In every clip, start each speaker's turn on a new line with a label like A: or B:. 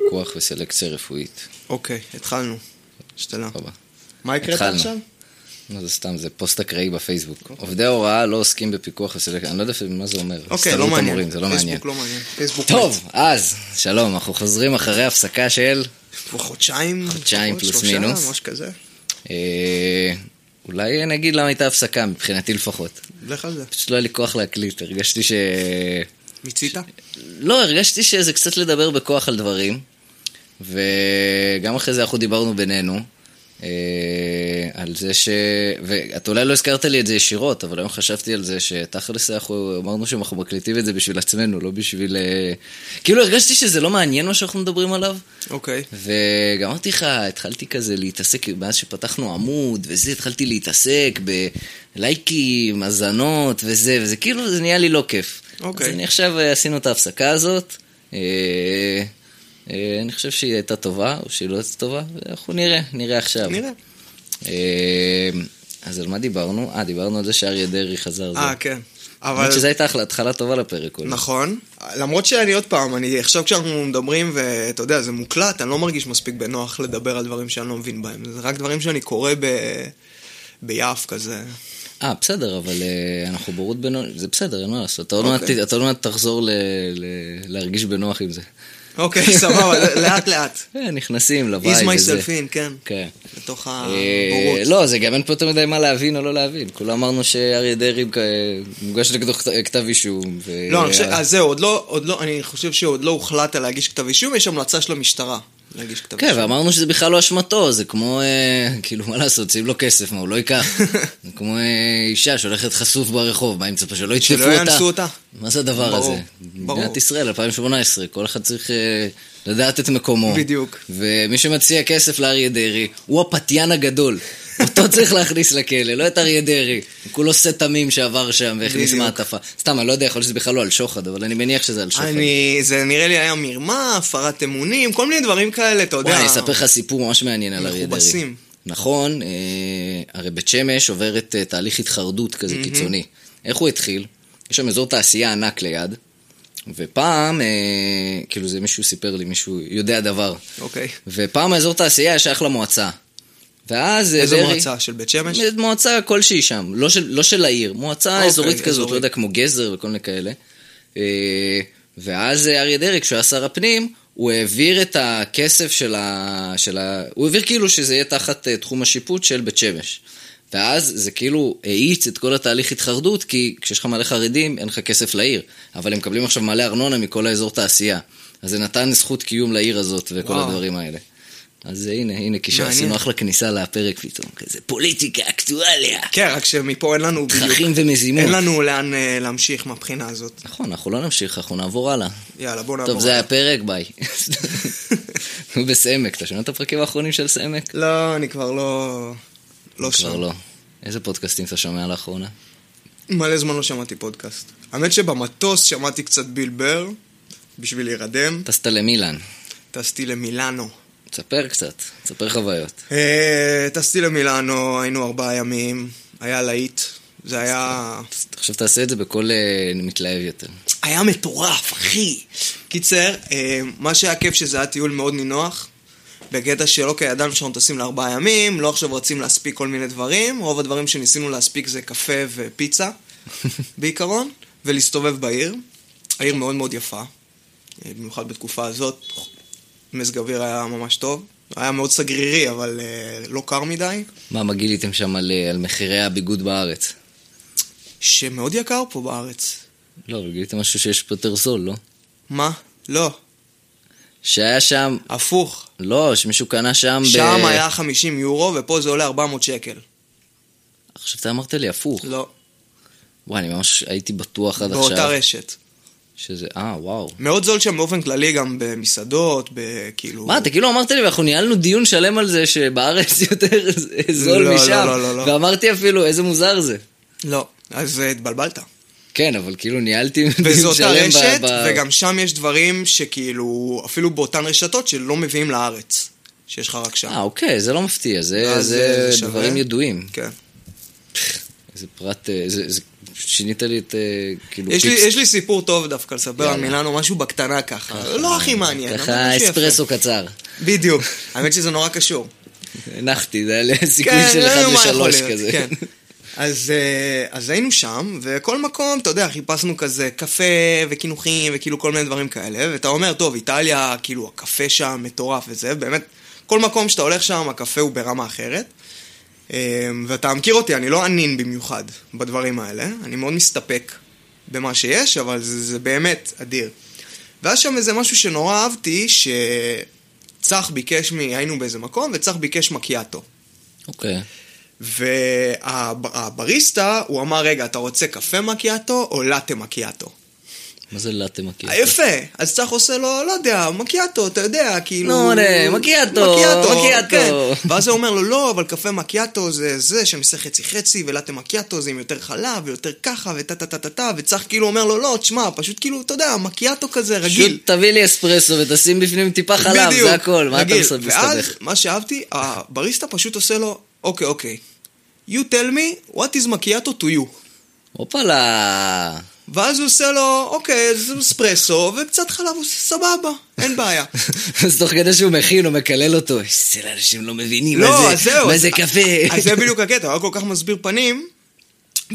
A: פיקוח לא וסלקציה רפואית.
B: אוקיי, התחלנו. השתנה.
A: סבבה.
B: מה הקראת
A: התחלנו.
B: עכשיו?
A: לא, זה סתם, זה פוסט אקראי בפייסבוק. עובדי הוראה לא עוסקים בפיקוח וסלקציה, אני לא יודע אפילו מה זה אומר.
B: אוקיי, לא
A: הסתדרות
B: מעניין.
A: המורים, זה לא מעניין.
B: פייסבוק לא מעניין. פייסבוק מת.
A: טוב, אז, שלום, אנחנו חוזרים אחרי הפסקה של
B: כבר חודשיים?
A: חודשיים
B: לפחות,
A: פלוס
B: שלושה,
A: מינוס.
B: משהו כזה.
A: אה, אולי נגיד למה הייתה הפסקה, מבחינתי לפחות.
B: לך על זה.
A: פשוט לא היה לי כוח להקליט, הרגשתי ש...
B: מיצית?
A: לא, הרגשתי שזה קצת לדבר בכוח על דברים, וגם אחרי זה אנחנו דיברנו בינינו, אה, על זה ש... ואת אולי לא הזכרת לי את זה ישירות, אבל היום חשבתי על זה שתכלס אנחנו אמרנו שאנחנו מקליטים את זה בשביל עצמנו, לא בשביל... אה, כאילו הרגשתי שזה לא מעניין מה שאנחנו מדברים עליו.
B: אוקיי.
A: וגם אמרתי לך, התחלתי כזה להתעסק, מאז שפתחנו עמוד וזה, התחלתי להתעסק בלייקים, האזנות וזה, וזה כאילו, זה נהיה לי לא כיף.
B: אוקיי.
A: אז אני עכשיו אה, עשינו את ההפסקה הזאת, אה, אה, אני חושב שהיא הייתה טובה, או שהיא לא הייתה טובה, אנחנו נראה, נראה עכשיו.
B: נראה.
A: אה, אז על מה דיברנו? אה, דיברנו על זה שאריה דרעי חזר. זה.
B: אה, כן. אבל...
A: האמת שזו הייתה אחלה- התחלה טובה לפרק. אולי.
B: נכון. למרות שאני עוד פעם, אני עכשיו כשאנחנו מדברים, ואתה יודע, זה מוקלט, אני לא מרגיש מספיק בנוח לדבר על דברים שאני לא מבין בהם. זה רק דברים שאני קורא ב... ביעף כזה.
A: אה, בסדר, אבל אה, אנחנו בורות בינוני, זה בסדר, אין מה לעשות. אתה עוד מעט-
B: אוקיי.
A: אתה עוד מעט תחזור ל- ל- להרגיש בנוח עם זה.
B: אוקיי, סבבה, לאט לאט.
A: אה, נכנסים לבית.
B: Ease
A: וזה.
B: myself in, כן.
A: כן.
B: לתוך
A: אה,
B: הבורות.
A: לא, זה גם אין פה יותר מדי מה להבין או לא להבין. כולם אמרנו שאריה דרעי אה, מוגש נגדו כת- כתב אישום. ו-
B: לא, אני חושב, אז זהו, עוד לא, עוד לא, אני חושב שעוד לא הוחלט על להגיש כתב אישום, יש המלצה של המשטרה להגיש כתב
A: כן,
B: אישום.
A: ואמרנו שזה בכלל לא אשמתו, זה כמו, אה, כאילו, מה לעשות, שים לו כסף, מה, הוא לא ייקח. זה כמו אה, אישה שהולכת חשוף ברחוב, מה, אם צפה שלא יתקפו אותה?
B: שלא יאנסו אותה.
A: מה זה הדבר
B: ברור,
A: הזה?
B: ברור.
A: מדינת ישראל, 2018, כל אחד צריך אה, לדעת את מקומו.
B: בדיוק.
A: ומי שמציע כסף לאריה דרעי, הוא הפתיין הגדול. אותו צריך להכניס לכלא, לא את אריה דרעי. הוא כולו סט תמים שעבר שם והכניס
B: בדיוק.
A: מעטפה. סתם, אני לא יודע, יכול להיות שזה בכלל לא על שוחד, אבל אני מניח שזה על שוחד.
B: אני, זה נראה לי היה מרמה, הפרת אמונים, כל מיני דברים כאלה, אתה יודע.
A: וואי, אני אספר לך סיפור ממש מעניין על אריה דרעי.
B: מכובסים.
A: נכון, אה, הרי בית שמש עוברת אה, תהליך התחרדות כזה קיצוני. איך הוא התחיל? יש שם אזור תעשייה ענק ליד, ופעם, אה, כאילו זה מישהו סיפר לי, מישהו יודע דבר.
B: אוקיי.
A: ופעם האזור תעשייה היה שייך למועצה. ואז אה,
B: איזו
A: דרעי...
B: מועצה של בית שמש?
A: מועצה כלשהי שם, לא של, לא של העיר, מועצה
B: אוקיי,
A: אזורית כזאת,
B: אזורית.
A: לא יודע, כמו גזר וכל מיני כאלה. אה, ואז אה, אריה דרעי, כשהוא היה שר הפנים, הוא העביר את הכסף של ה... של ה... הוא העביר כאילו שזה יהיה תחת אה, תחום השיפוט של בית שמש. ואז זה כאילו האיץ את כל התהליך התחרדות, כי כשיש לך מלא חרדים, אין לך כסף לעיר. אבל הם מקבלים עכשיו מלא ארנונה מכל האזור תעשייה. אז זה נתן זכות קיום לעיר הזאת וכל
B: וואו.
A: הדברים האלה. אז אה, הנה, הנה, כי
B: מעניין.
A: שעשינו אחלה כניסה לפרק פתאום, כזה פוליטיקה, אקטואליה,
B: כן, רק שמפה אין לנו בדיוק.
A: תככים ומזימות.
B: אין לנו לאן אה, להמשיך מהבחינה הזאת.
A: נכון, אנחנו לא נמשיך, אנחנו נעבור הלאה.
B: יאללה, בוא נעבור.
A: טוב, זה היה פרק, ביי. הוא בסעמק, אתה שומע את הפרקים האחרונים של סעמק?
B: לא, אני כבר לא... לא שם.
A: כבר לא. איזה פודקאסטים אתה שומע לאחרונה?
B: מלא זמן לא שמעתי פודקאסט. האמת שבמטוס שמעתי קצת ביל בר, בשביל להירדם.
A: טסת למילאן,
B: טסתי למילאנו.
A: תספר קצת, תספר חוויות.
B: אה, טסתי למילאנו, היינו ארבעה ימים, היה להיט. זה היה...
A: עכשיו תעשה את זה בקול אה, מתלהב יותר.
B: היה מטורף, אחי. קיצר, אה, מה שהיה כיף שזה היה טיול מאוד נינוח, בקטע של אוקיי, ידענו שאנחנו טסים לארבעה ימים, לא עכשיו רצים להספיק כל מיני דברים, רוב הדברים שניסינו להספיק זה קפה ופיצה, בעיקרון, ולהסתובב בעיר. העיר מאוד מאוד יפה, אה, במיוחד בתקופה הזאת, מזג אוויר היה ממש טוב. היה מאוד סגרירי, אבל אה, לא קר מדי,
A: מה, מה גיליתם שם על אה, על מחירי הביגוד בארץ?
B: שמאוד יקר פה בארץ.
A: לא, אבל גיליתם משהו שיש פה יותר זול, לא?
B: מה? לא,
A: שהיה שם,
B: הפוך.
A: לא, שמישהו קנה שם ב...
B: שם היה 50 יורו, ופה זה עולה 400 שקל.
A: עכשיו אתה אמרת לי הפוך.
B: לא.
A: וואי, אני ממש הייתי בטוח עד עכשיו.
B: באותה רשת.
A: שזה, אה, וואו.
B: מאוד זול שם באופן כללי, גם במסעדות, בכאילו...
A: מה, אתה כאילו אמרת לי, ואנחנו ניהלנו דיון שלם על זה שבארץ יותר זול
B: לא, לא,
A: משם.
B: לא, לא, לא.
A: ואמרתי אפילו, איזה מוזר זה.
B: לא. אז אה, התבלבלת.
A: כן, אבל כאילו ניהלתי דיון שלם
B: וזו אותה
A: ב-
B: רשת,
A: ב-
B: וגם שם יש דברים שכאילו, אפילו באותן רשתות שלא מביאים לארץ. שיש לך רק שם.
A: אה, אוקיי, זה לא מפתיע, זה,
B: ואז,
A: זה
B: אה, זה שווה.
A: דברים ידועים.
B: כן.
A: זה פרט, אה, זה, זה שינית לי את, אה, כאילו,
B: יש לי,
A: פיפס.
B: יש לי סיפור טוב דווקא לספר על
A: יאללה. אה,
B: מילאנו, משהו בקטנה ככה. לא הכי מעניין, אבל
A: ככה
B: משהו יפה.
A: אספרסו קצר.
B: בדיוק. האמת שזה נורא קשור.
A: הנחתי, זה היה סיכוי של
B: לא
A: 1
B: יודע מה יכול
A: ל-3
B: להיות,
A: כזה.
B: כן. אז, אה, אז היינו שם, וכל מקום, אתה יודע, חיפשנו כזה קפה וקינוחים וכאילו כל מיני דברים כאלה, ואתה אומר, טוב, איטליה, כאילו, הקפה שם מטורף וזה, באמת, כל מקום שאתה הולך שם, הקפה הוא ברמה אחרת. אה, ואתה מכיר אותי, אני לא ענין במיוחד בדברים האלה, אני מאוד מסתפק במה שיש, אבל זה, זה באמת אדיר. והיה שם איזה משהו שנורא אהבתי, שצח ביקש, מ... היינו באיזה מקום, וצח ביקש מקיאטו.
A: אוקיי.
B: והבריסטה, הוא אמר, רגע, אתה רוצה קפה מקיאטו או לאטה מקיאטו?
A: מה זה לאטה מקיאטו?
B: יפה, אז צח עושה לו, לא יודע, מקיאטו, אתה יודע, כאילו...
A: נו, נה, מקיאטו, מקיאטו.
B: כן. ואז הוא אומר לו, לא, אבל קפה מקיאטו זה זה שמעשה חצי חצי, ולאטה מקיאטו זה עם יותר חלב, ויותר ככה, וטה טה טה טה טה, וצח כאילו אומר לו, לא, תשמע, פשוט כאילו, אתה יודע, מקיאטו כזה, רגיל.
A: פשוט תביא לי אספרסו ותשים בפנים טיפה חלב,
B: בדיוק,
A: זה הכל, מה אתה
B: רגיל.
A: מסתבך?
B: ואז, מה שאהבתי, הבריסטה פשוט עושה לו, אוקיי, אוקיי. You tell me what is macchiato to you.
A: הופלה.
B: ואז הוא עושה לו, אוקיי, זה אספרסו וקצת חלב, הוא עושה סבבה, אין בעיה.
A: אז תוך כדי שהוא מכין, הוא מקלל אותו, איזה אנשים לא מבינים
B: לא,
A: מה
B: אז
A: זה,
B: זהו.
A: מה
B: אז-
A: זה קפה.
B: אז זה בדיוק הקטע, הוא היה כל כך מסביר פנים,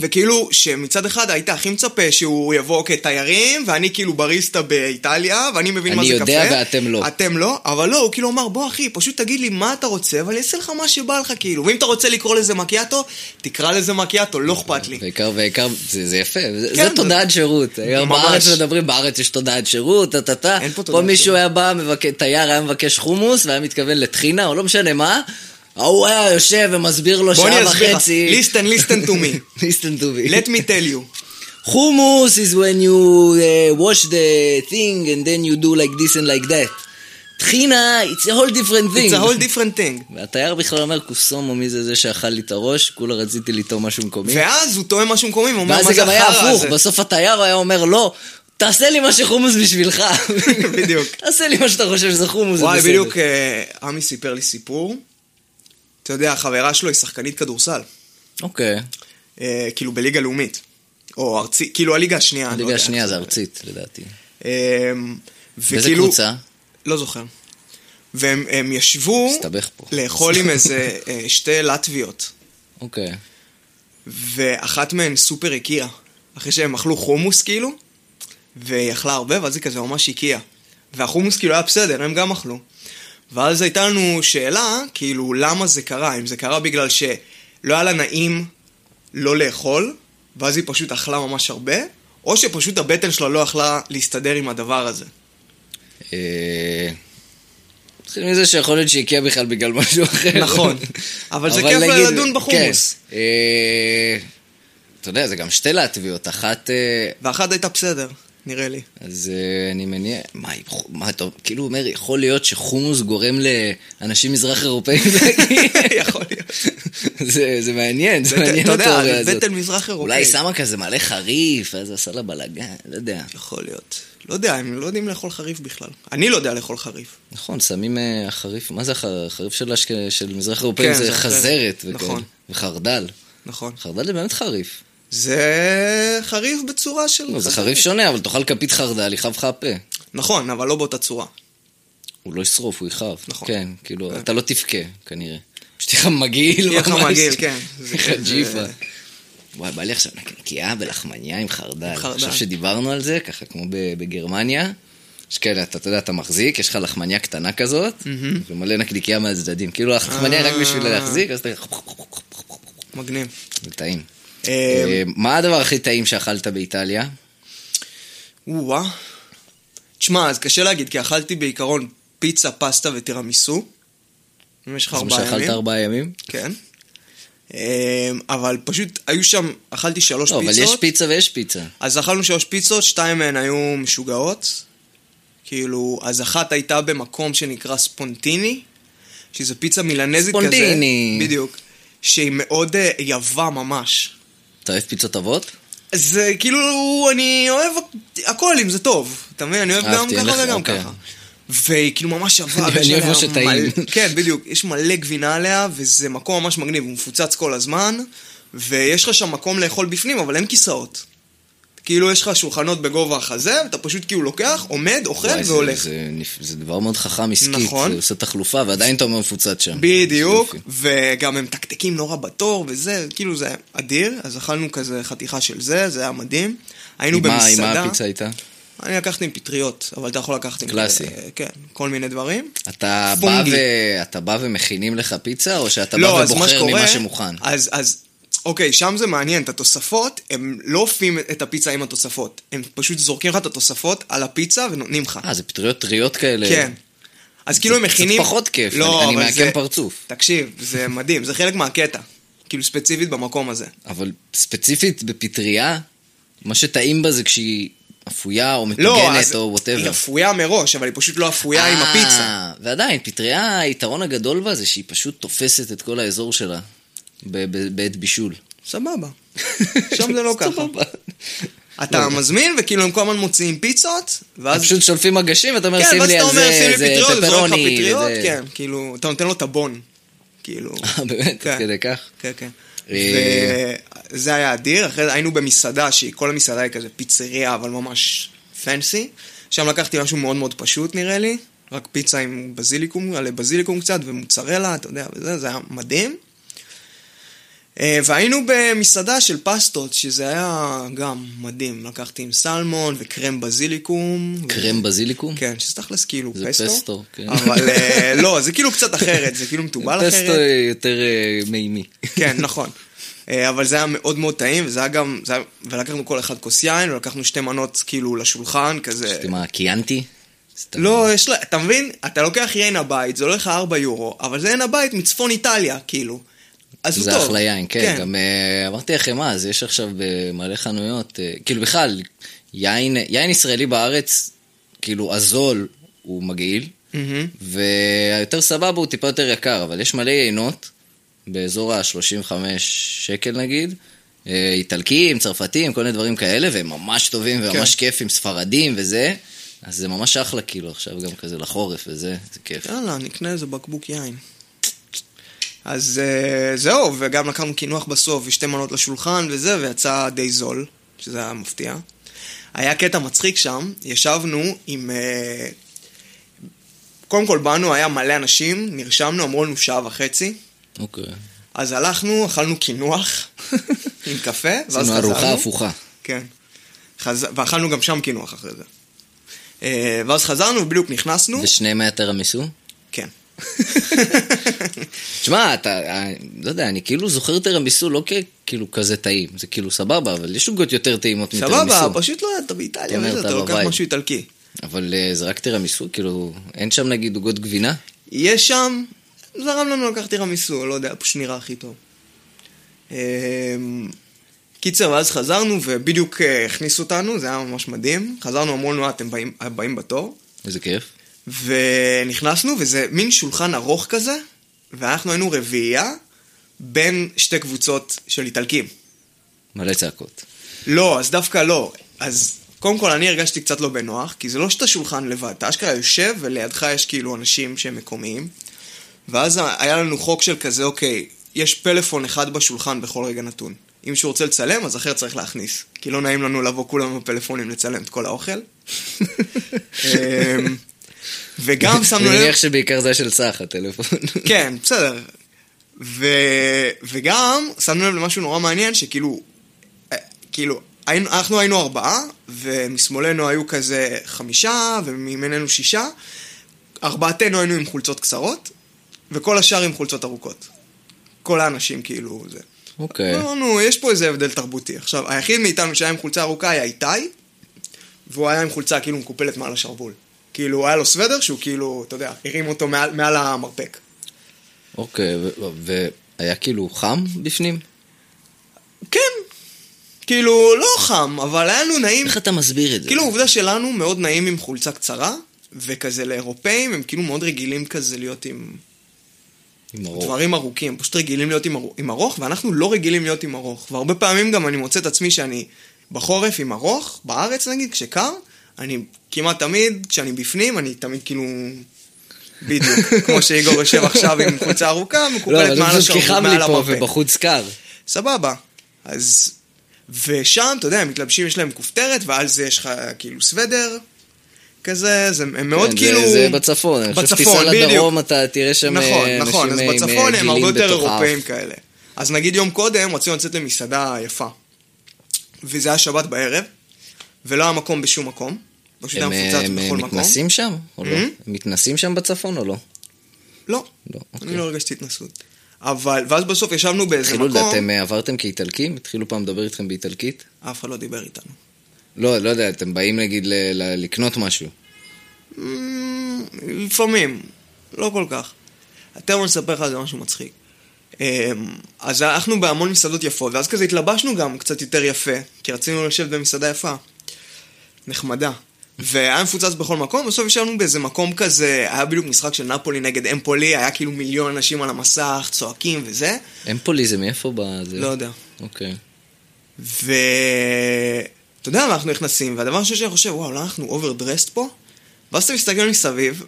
B: וכאילו, שמצד אחד היית הכי מצפה שהוא יבוא כתיירים, ואני כאילו בריסטה באיטליה, ואני מבין
A: אני
B: מה זה קפה.
A: יודע ואתם לא.
B: אתם לא, אבל לא, הוא כאילו אמר, בוא אחי, פשוט תגיד לי מה אתה רוצה, ואני אעשה לך מה שבא לך, כאילו. ואם אתה רוצה לקרוא לזה מקיאטו, תקרא לזה מקיאטו, לא אכפת לי.
A: בעיקר, בעיקר, זה, זה יפה, זה,
B: כן,
A: זה תודעת שירות. היום
B: ממש.
A: בארץ מדברים, בארץ יש תודעת שירות, טה-טה-טה.
B: אין פה
A: פה
B: תודעת
A: מישהו
B: שירות.
A: היה בא, מבק... תייר היה מבקש חומוס, והיה מתכוון לטחינה, או לא משנה מה. ההוא היה יושב ומסביר לו
B: בוא אני
A: שעה
B: אסביר לך.
A: וחצי.
B: Listen, listen to me.
A: listen to me.
B: Let me tell you.
A: חומוס is when you uh, wash the thing and then you do like this and like that. טחינה, it's a whole different thing.
B: It's a whole different thing.
A: והתייר בכלל אומר, קוסומו, מי זה זה שאכל לי את הראש? כולה רציתי לטעום משהו מקומי.
B: ואז הוא טועם משהו מקומי, הוא אומר,
A: ואז
B: מה
A: זה גם היה
B: החרא
A: הפוך,
B: הזה?"
A: בסוף התייר היה אומר, לא, תעשה לי מה שחומוס בשבילך.
B: בדיוק.
A: תעשה לי מה שאתה חושב שזה חומוס, זה
B: וואי,
A: בסדר.
B: בדיוק אה, עמי סיפר לי סיפור. אתה יודע, החברה שלו היא שחקנית כדורסל.
A: אוקיי,
B: אה, כאילו בליגה לאומית. או ארצי, כאילו הליגה השנייה. אני לא
A: הליגה
B: יודע.
A: השנייה זה ארצית, לדעתי.
B: אה,
A: באיזה
B: וכאילו...
A: קבוצה?
B: לא זוכר. והם הם ישבו
A: הסתבך פה.
B: לאכול עם איזה אה, שתי לטביות.
A: אוקיי.
B: ואחת מהן סופר הקיאה. אחרי שהם אכלו חומוס כאילו, והיא אכלה הרבה, ואז היא כזה ממש הקיאה. והחומוס כאילו היה בסדר, הם גם אכלו. ואז הייתה לנו שאלה, כאילו, למה זה קרה? אם זה קרה בגלל שלא היה לה נעים לא לאכול, ואז היא פשוט אכלה ממש הרבה, או שפשוט הבטן שלה לא יכלה להסתדר עם הדבר הזה.
A: אה, נתחיל מזה שיכול להיות שהגיע בכלל בגלל משהו אחר.
B: נכון. אבל זה כיף
A: נגיד-
B: לדון בחומוס.
A: כן. אה, אתה יודע, זה גם שתי להטביות, אחת... אה,
B: ואחת הייתה בסדר, נראה לי.
A: אז אה, אני מניח, מה, אם חו- מה אתה, כאילו הוא אומר, יכול להיות שחומוס גורם לאנשים מזרח אירופאים להגיד?
B: יכול להיות.
A: זה זה מעניין, זה
B: בטן-
A: מעניין
B: אתה יודע,
A: התיאוריה
B: זה
A: הזאת.
B: בטן מזרח אירופאי.
A: אולי היא שמה כזה מלא חריף, אז עשה לה בלאגן, לא יודע.
B: יכול להיות. לא יודע, הם לא יודעים לאכול חריף בכלל. אני לא יודע לאכול חריף.
A: נכון, שמים אה, החריף, מה זה החר- החריף של אשכ- של מזרח אירופאים?
B: כן, זה
A: זה
B: אחר.
A: חזרת וכאלה.
B: נכון.
A: וחרדל.
B: נכון.
A: חרדל זה באמת חריף.
B: זה חריף בצורה של...
A: לא, זה חריף שונה, אבל תאכל כפית חרדל, יכאב לך הפה.
B: נכון, אבל לא באותה צורה.
A: הוא לא ישרוף, הוא יכאב.
B: נכון.
A: כן, כאילו, אתה לא תבכה, כנראה. פשוט יהיה לך מגעיל
B: יהיה
A: ממש.
B: לך מגעיל, כן.
A: יהיה לך ג'יפה. וואי, בא לי עכשיו נקניקייה ולחמניה עם חרדל.
B: חרדל.
A: עכשיו שדיברנו על זה, ככה כמו ב- בגרמניה, יש כאלה, אתה אתה יודע, אתה מחזיק, יש לך לחמניה קטנה כזאת, ומלא נקניקייה מהצדדים. כאילו, לחמניה היא רק בשביל
B: אה.
A: להחזיק, אז אתה...
B: מגניב.
A: זה טעים.
B: אמ,
A: אה, מה הדבר הכי טעים שאכלת באיטליה?
B: וואה. תשמע, אז קשה להגיד, כי אכלתי בעיקרון פיצה, פסטה וטירמיסו. במשך
A: זה מה
B: ארבעה
A: שאכלת
B: ימים.
A: ארבעה ימים?
B: כן. אמ, אבל פשוט, היו שם, אכלתי שלוש
A: לא, אבל יש
B: פיצות.
A: פיצה ויש פיצה.
B: אז אכלנו שלוש פיצות, שתיים מהן היו משוגעות. כאילו, אז אחת הייתה במקום שנקרא ספונטיני, שזו פיצה מילנזית כזה.
A: ספונטיני.
B: בדיוק. שהיא מאוד אה, יבה ממש.
A: אתה אוהב פיצות עבות?
B: זה כאילו, אני אוהב הכל אם זה טוב. אתה מבין? אני אוהב גם
A: אהבתי, אין
B: ככה
A: לך,
B: וגם
A: אוקיי.
B: ככה. והיא כאילו ממש שווה,
A: אני אוהב מה שטעים.
B: כן, בדיוק, יש מלא גבינה עליה, וזה מקום ממש מגניב, הוא מפוצץ כל הזמן, ויש לך שם מקום לאכול בפנים, אבל אין כיסאות. כאילו יש לך שולחנות בגובה החזה, ואתה פשוט כאילו לוקח, עומד, אוכל
A: וואי, זה-
B: והולך.
A: זה נפ- זה דבר מאוד חכם עסקית.
B: נכון.
A: זה עושה תחלופה, ועדיין אתה אומר מפוצץ שם.
B: בדיוק,
A: זה יופי.
B: וגם הם מתקתקים נורא בתור וזה, כאילו זה אדיר, אז אכלנו כזה חתיכה של זה, זה היה מדהים. היינו
A: עם מה- עם
B: במסעדה,
A: מה הפיצה הייתה?
B: אני לקחתי עם פטריות, אבל אתה יכול לקחת עם...
A: קלאסי.
B: אה, כן, כל מיני דברים.
A: אתה בא,
B: פונגי.
A: ו... אתה בא ומכינים לך פיצה, או שאתה
B: לא,
A: בא
B: אז מה
A: ובוחר
B: שקורה,
A: ממה שמוכן?
B: אז, אז, אוקיי, שם זה מעניין, את התוספות, הם לא אופים את הפיצה עם התוספות, הם פשוט זורקים לך את התוספות על הפיצה ונותנים לך.
A: אה, זה פטריות טריות כאלה.
B: כן. אז כאילו הם
A: קצת
B: מכינים... לא,
A: פחות כיף, אני- אני
B: אבל
A: מעקם
B: זה-
A: פרצוף.
B: תקשיב, זה מדהים, זה חלק מהקטע. כאילו ספציפית במקום הזה.
A: אבל ספציפית בפטריה, מה שטעים בה זה כשהיא אפויה או מטוגנת
B: לא, אז
A: או אה.
B: היא
A: וואטאבר.
B: אפויה מראש, אבל היא פשוט לא אפויה עם הפיצה.
A: ועדיין, פטריה, היתרון הגדול בה זה שהיא פשוט תופסת את כל האזור שלה ב- ב- בעת בישול.
B: סבבה. שם זה לא ככה.
A: סבבה. לא
B: אתה מזמין, וכאילו הם כל הזמן מוציאים פיצות, ואז...
A: פשוט שולפים מגשים, ואתה אומר,
B: כן,
A: שים
B: ואז
A: לי
B: אתה
A: על
B: אומר,
A: זה,
B: שים לי
A: זה
B: פטריות, זורק לך
A: פפרוני.
B: פטריות,
A: וזה-
B: כן, כאילו, אתה נותן לו את הבון. כאילו...
A: אה, באמת,
B: כן.
A: עד כדי כך.
B: כן, כן.
A: אה.
B: וזה היה אדיר, אחרי זה היינו במסעדה, שהיא, כל המסעדה היא כזה פיצריה, אבל ממש פנסי. שם לקחתי משהו מאוד מאוד פשוט נראה לי, רק פיצה עם בזיליקום, עלי בזיליקום קצת ומוצרלה, אתה יודע, וזה, זה היה מדהים. אה, והיינו במסעדה של פסטות, שזה היה גם מדהים. לקחתי עם סלמון וקרם בזיליקום.
A: קרם בזיליקום?
B: כן, שזה תכלס כאילו
A: זה
B: פסטו.
A: פסטו, כן.
B: אבל אה, לא, זה כאילו קצת אחרת, זה כאילו מתובל אחרת.
A: פסטו יותר אה, מימי.
B: כן, נכון. אה, אבל זה היה מאוד מאוד טעים, וזה היה גם, זה היה, ולקחנו כל אחד כוס יין, ולקחנו שתי מנות כאילו לשולחן, כזה...
A: שאתם מה, קיאנטי? סתם.
B: לא, יש לה, אתה מבין? אתה לוקח יין הבית, זה עולה לך 4 יורו, אבל זה יין הבית מצפון איטליה, כאילו. אז הוא
A: זה
B: טוב.
A: אחלה יין, כן. גם אה, אמרתי לכם מה, אז יש עכשיו במלא חנויות, אה, כאילו בכלל, יין יין ישראלי בארץ, כאילו הזול הוא מגעיל,
B: מהמם.
A: והיותר סבבה הוא טיפה יותר יקר, אבל יש מלא יינות, באזור ה-35 שקל נגיד, אה, איטלקים, צרפתים, כל מיני דברים כאלה, והם ממש טובים
B: כן.
A: וממש כיפים, ספרדים וזה, אז זה ממש אחלה כאילו עכשיו גם כזה לחורף וזה, זה כיף.
B: יאללה, נקנה איזה בקבוק יין. אז אה, זהו, וגם לקחנו קינוח בסוף ושתי מנות לשולחן וזה, ויצא די זול, שזה היה מפתיע. היה קטע מצחיק שם, ישבנו עם... אה, קודם כל באנו, היה מלא אנשים, נרשמנו, אמרו לנו שעה וחצי,
A: אוקיי.
B: אז הלכנו, אכלנו קינוח עם קפה, ואז
A: עשינו
B: חזרנו.
A: ארוחה הפוכה.
B: כן. חז... ואכלנו גם שם קינוח אחרי זה. אה, ואז חזרנו, ובדיוק נכנסנו,
A: ושני מטר המיסו?
B: כן.
A: תשמע, אתה, אה, לא יודע, אני כאילו זוכר תירמיסו לא ככאילו כזה טעים, זה כאילו סבבה, אבל יש עוגות יותר טעימות מתירמיסו.
B: סבבה, פשוט לא, אתה באיטליה,
A: אתה אומר,
B: וזה,
A: אתה
B: אתה לוקח
A: בבית.
B: משהו איטלקי.
A: אבל אה, זה רק תירמיסו, כאילו, אין שם נגיד עוגות גבינה?
B: יש שם, זרם לנו לקחת טירמיסו, לא יודע, פשוט נראה הכי טוב. אמ, קיצר, ואז חזרנו, ובדיוק אה, הכניסו אותנו, זה היה ממש מדהים. חזרנו, אמרו לנו, "אה, אתם באים- הבאים בתור.
A: איזה כיף.
B: ונכנסנו, וזה מין שולחן ארוך כזה, ואנחנו היינו רביעייה בין שתי קבוצות של איטלקים.
A: מלא צעקות.
B: לא, אז דווקא לא. אז קודם כל אני הרגשתי קצת לא בנוח, כי זה לא שאתה שולחן לבד, אתה אשכרה יושב ולידך יש כאילו אנשים שהם מקומיים. ואז היה לנו חוק של כזה, אוקיי, יש פלאפון אחד בשולחן בכל רגע נתון. אם מישהו רוצה לצלם, אז אחר צריך להכניס. כי לא נעים לנו לבוא כולם עם הפלאפונים לצלם את כל האוכל. אמ, וגם שמנו
A: אני
B: לב...
A: מניח שבעיקר זה היה של צח, הטלפון.
B: כן, בסדר. ו... וגם שמנו לב למשהו נורא מעניין, שכאילו, אה, כאילו, היינו, אנחנו היינו ארבעה, ומשמאלנו היו כזה חמישה, ומימיננו שישה. ארבעתנו היינו עם חולצות קצרות, וכל השאר עם חולצות ארוכות. כל האנשים כאילו זה.
A: אוקיי.
B: אמרנו, יש פה איזה הבדל תרבותי. עכשיו, היחיד מאיתנו שהיה עם חולצה ארוכה היה איתי, והוא היה עם חולצה כאילו מקופלת מעל השרוול. כאילו, היה לו סוודר שהוא כאילו, אתה יודע, הרים אותו מעל, מעל המרפק.
A: אוקיי, ו- ו- והיה כאילו חם בפנים?
B: כן. כאילו, לא חם, אבל היה לנו נעים.
A: איך אתה מסביר את זה?
B: כאילו, העובדה שלנו מאוד נעים עם חולצה קצרה, וכזה לאירופאים, הם כאילו מאוד רגילים כזה להיות עם
A: עם הרוב.
B: דברים ארוכים. הם פשוט רגילים להיות עם ארוך- עם ארוך, ואנחנו לא רגילים להיות עם ארוך. והרבה פעמים גם אני מוצא את עצמי שאני בחורף עם ארוך, בארץ נגיד, כשקר, אני כמעט תמיד, כשאני בפנים, אני תמיד כאילו... בדיוק, כמו שאיגור יושב עכשיו עם חולצה ארוכה,
A: לא, אבל
B: מקופלת
A: זה
B: מעל
A: פשוט כי
B: השרוול,
A: חם לי
B: מעל
A: פה
B: המרפק.
A: ובחוץ קר.
B: סבבה. אז... ושם, אתה יודע, הם מתלבשים, יש להם כופתרת, ועל זה יש לך כאילו סוודר. כזה, זה, הם מאוד
A: כן,
B: כאילו...
A: זה, זה בצפון, אני חושב
B: בצפון,
A: שתיסע לדרום, אתה תראה שם
B: נכון,
A: אה,
B: נכון, אז
A: אנשים עם, אה,
B: בצפון הם
A: גילים
B: הרבה יותר
A: בתוך האף.
B: אירופאים כאלה. אז נגיד יום קודם רצינו לצאת למסעדה יפה. וזה היה שבת בערב, ולא היה מקום בשום מקום. פשוט היה
A: הם, אה,
B: מפוצץ
A: הם אה,
B: בכל מקום.
A: מתנסים שם או לא?
B: Hmm?
A: הם מתנסים שם בצפון או לא?
B: לא,
A: לא.
B: אני לא הרגשתי התנסות. אבל, ואז בסוף ישבנו באיזה
A: התחילו,
B: מקום,
A: אתם אה, עברתם כאיטלקים? התחילו פעם לדבר איתכם באיטלקית?
B: אף אחד לא דיבר איתנו.
A: לא, לא יודע, אתם באים נגיד ל- ל- לקנות משהו.
B: אמ, לפעמים, לא כל כך. תכף אני אספר לך על זה משהו מצחיק. אמ, אז אנחנו בהמון מסעדות יפות, ואז כזה התלבשנו גם קצת יותר יפה, כי רצינו לשבת במסעדה יפה. נחמדה. והיה מפוצץ בכל מקום, בסוף ישבנו באיזה מקום כזה, היה בדיוק משחק של נפולי נגד אמפולי, היה כאילו מיליון אנשים על המסך, צועקים וזה,
A: אמפולי זה מאיפה בזה?
B: לא יודע.
A: אוקיי.
B: ו... אתה יודע מה אנחנו נכנסים, והדבר הראשון שאני חושב, וואו, אולי אנחנו אוברדרסט פה? ואז אתה מסתכל מסביב,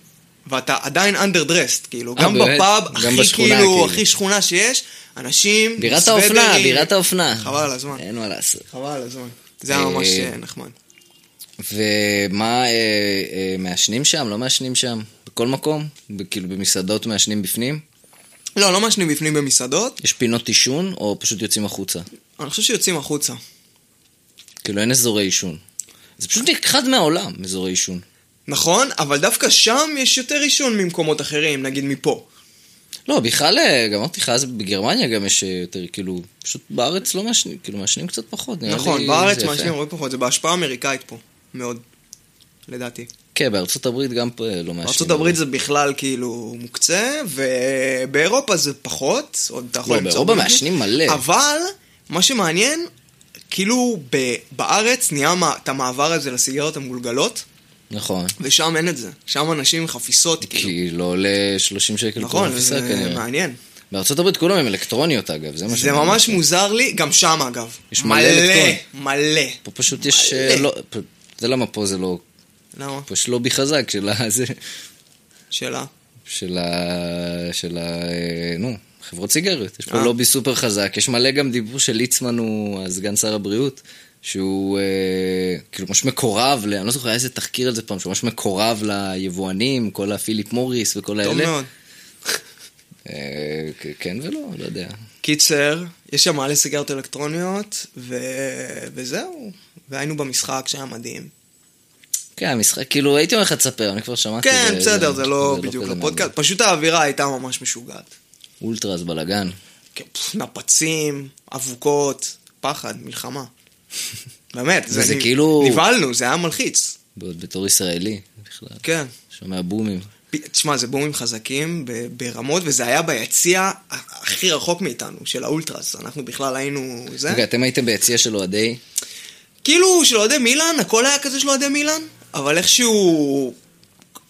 B: ואתה עדיין אנדרדרסט, כאילו,
A: אה,
B: גם
A: באמת?
B: בפאב,
A: גם
B: הכי
A: בשכונה,
B: כאילו,
A: כאילו.
B: הכי שכונה שיש, אנשים,
A: בירת האופנה,
B: סוודרים.
A: בירת האופנה.
B: חבל על הזמן,
A: אין מה לעשות.
B: חבל על הזמן. זה היה
A: אה,
B: ממש אה, נחמד.
A: ומה, אה, אה, מעשנים שם? לא מעשנים שם? בכל מקום? ב- כאילו במסעדות מעשנים בפנים?
B: לא, לא מעשנים בפנים במסעדות,
A: יש פינות עישון או פשוט יוצאים החוצה?
B: אני חושב שיוצאים החוצה.
A: כאילו אין אזורי עישון. זה פשוט נכחד מהעולם, אזורי עישון.
B: נכון, אבל דווקא שם יש יותר עישון ממקומות אחרים, נגיד מפה.
A: לא, בכלל, אה, גם אמרתי לך, אז בגרמניה גם יש אה, יותר, כאילו, פשוט בארץ לא מעשנים, כאילו מעשנים קצת פחות. נראה לי
B: נכון,
A: זה
B: בארץ
A: יפה.
B: מעשנים הרבה פחות, זה בהשפעה האמריקאית פה, מאוד, לדעתי.
A: כן, בארצות הברית גם פה אה, לא מעשנים.
B: ארצות הברית זה בכלל כאילו מוקצה, ובאירופה זה פחות, עוד אתה יכול
A: לא,
B: למצוא...
A: באירופה
B: בלגי.
A: מעשנים מלא.
B: אבל, מה שמעניין, כאילו ב- בארץ נהיה מה- את המעבר הזה לסיגריות המגולגלות,
A: נכון.
B: ושם אין את זה. שם אנשים עם חפיסות, כאילו.
A: כי לא עולה 30 שקל
B: נכון,
A: כל
B: זה
A: הפיסה כנראה.
B: מעניין.
A: בארצות הברית כולם הם אלקטרוניות אגב, זה מה
B: זה
A: שאני-
B: ממש מוזר לי, גם שם אגב.
A: יש מלא אלקטרון.
B: מלא.
A: פה פשוט יש...
B: מלא.
A: אה, לא, פ- זה למה פה זה לא...
B: למה?
A: פה יש לובי חזק של ה... זה...
B: שאלה.
A: של ה... של ה... אה, נו, חברות סיגריות. יש פה
B: אה.
A: לובי סופר חזק. יש מלא גם דיבור של ליצמן, הוא הסגן שר הבריאות, שהוא אה, כאילו ממש מקורב, ל... אני לא זוכר היה איזה תחקיר על זה פעם, שהוא ממש מקורב ליבואנים, כל הפיליפ מוריס וכל האלה.
B: טוב מאוד.
A: אה, כ- כן ולא, לא יודע.
B: קיצר, יש שם מלא סיגריות אלקטרוניות, ו... וזהו. והיינו במשחק שהיה מדהים.
A: כן, המשחק, כאילו הייתי אומר לך תספר, אני כבר שמעתי.
B: כן,
A: אה, זה-
B: בסדר, זה לא
A: כזה
B: בדיוק
A: מעניין.
B: לפודקאסט. פשוט האווירה הייתה ממש משוגעת.
A: אולטרס בלאגן.
B: כן, פפ, נפצים, אבוקות, פחד, מלחמה. באמת, זה
A: וזה
B: נב-
A: כאילו-
B: נבהלנו, זה היה מלחיץ.
A: בעוד בתור ישראלי בכלל.
B: כן.
A: שומע בומים.
B: פ- תשמע, זה בומים חזקים ב- ברמות, וזה היה ביציע ה- הכי רחוק מאיתנו, של האולטרס. אנחנו בכלל היינו... זה.
A: רגע, אתם הייתם ביציע של אוהדי?
B: כאילו של אוהדי מילאן, הכל היה כזה של אוהדי מילאן, אבל איכשהו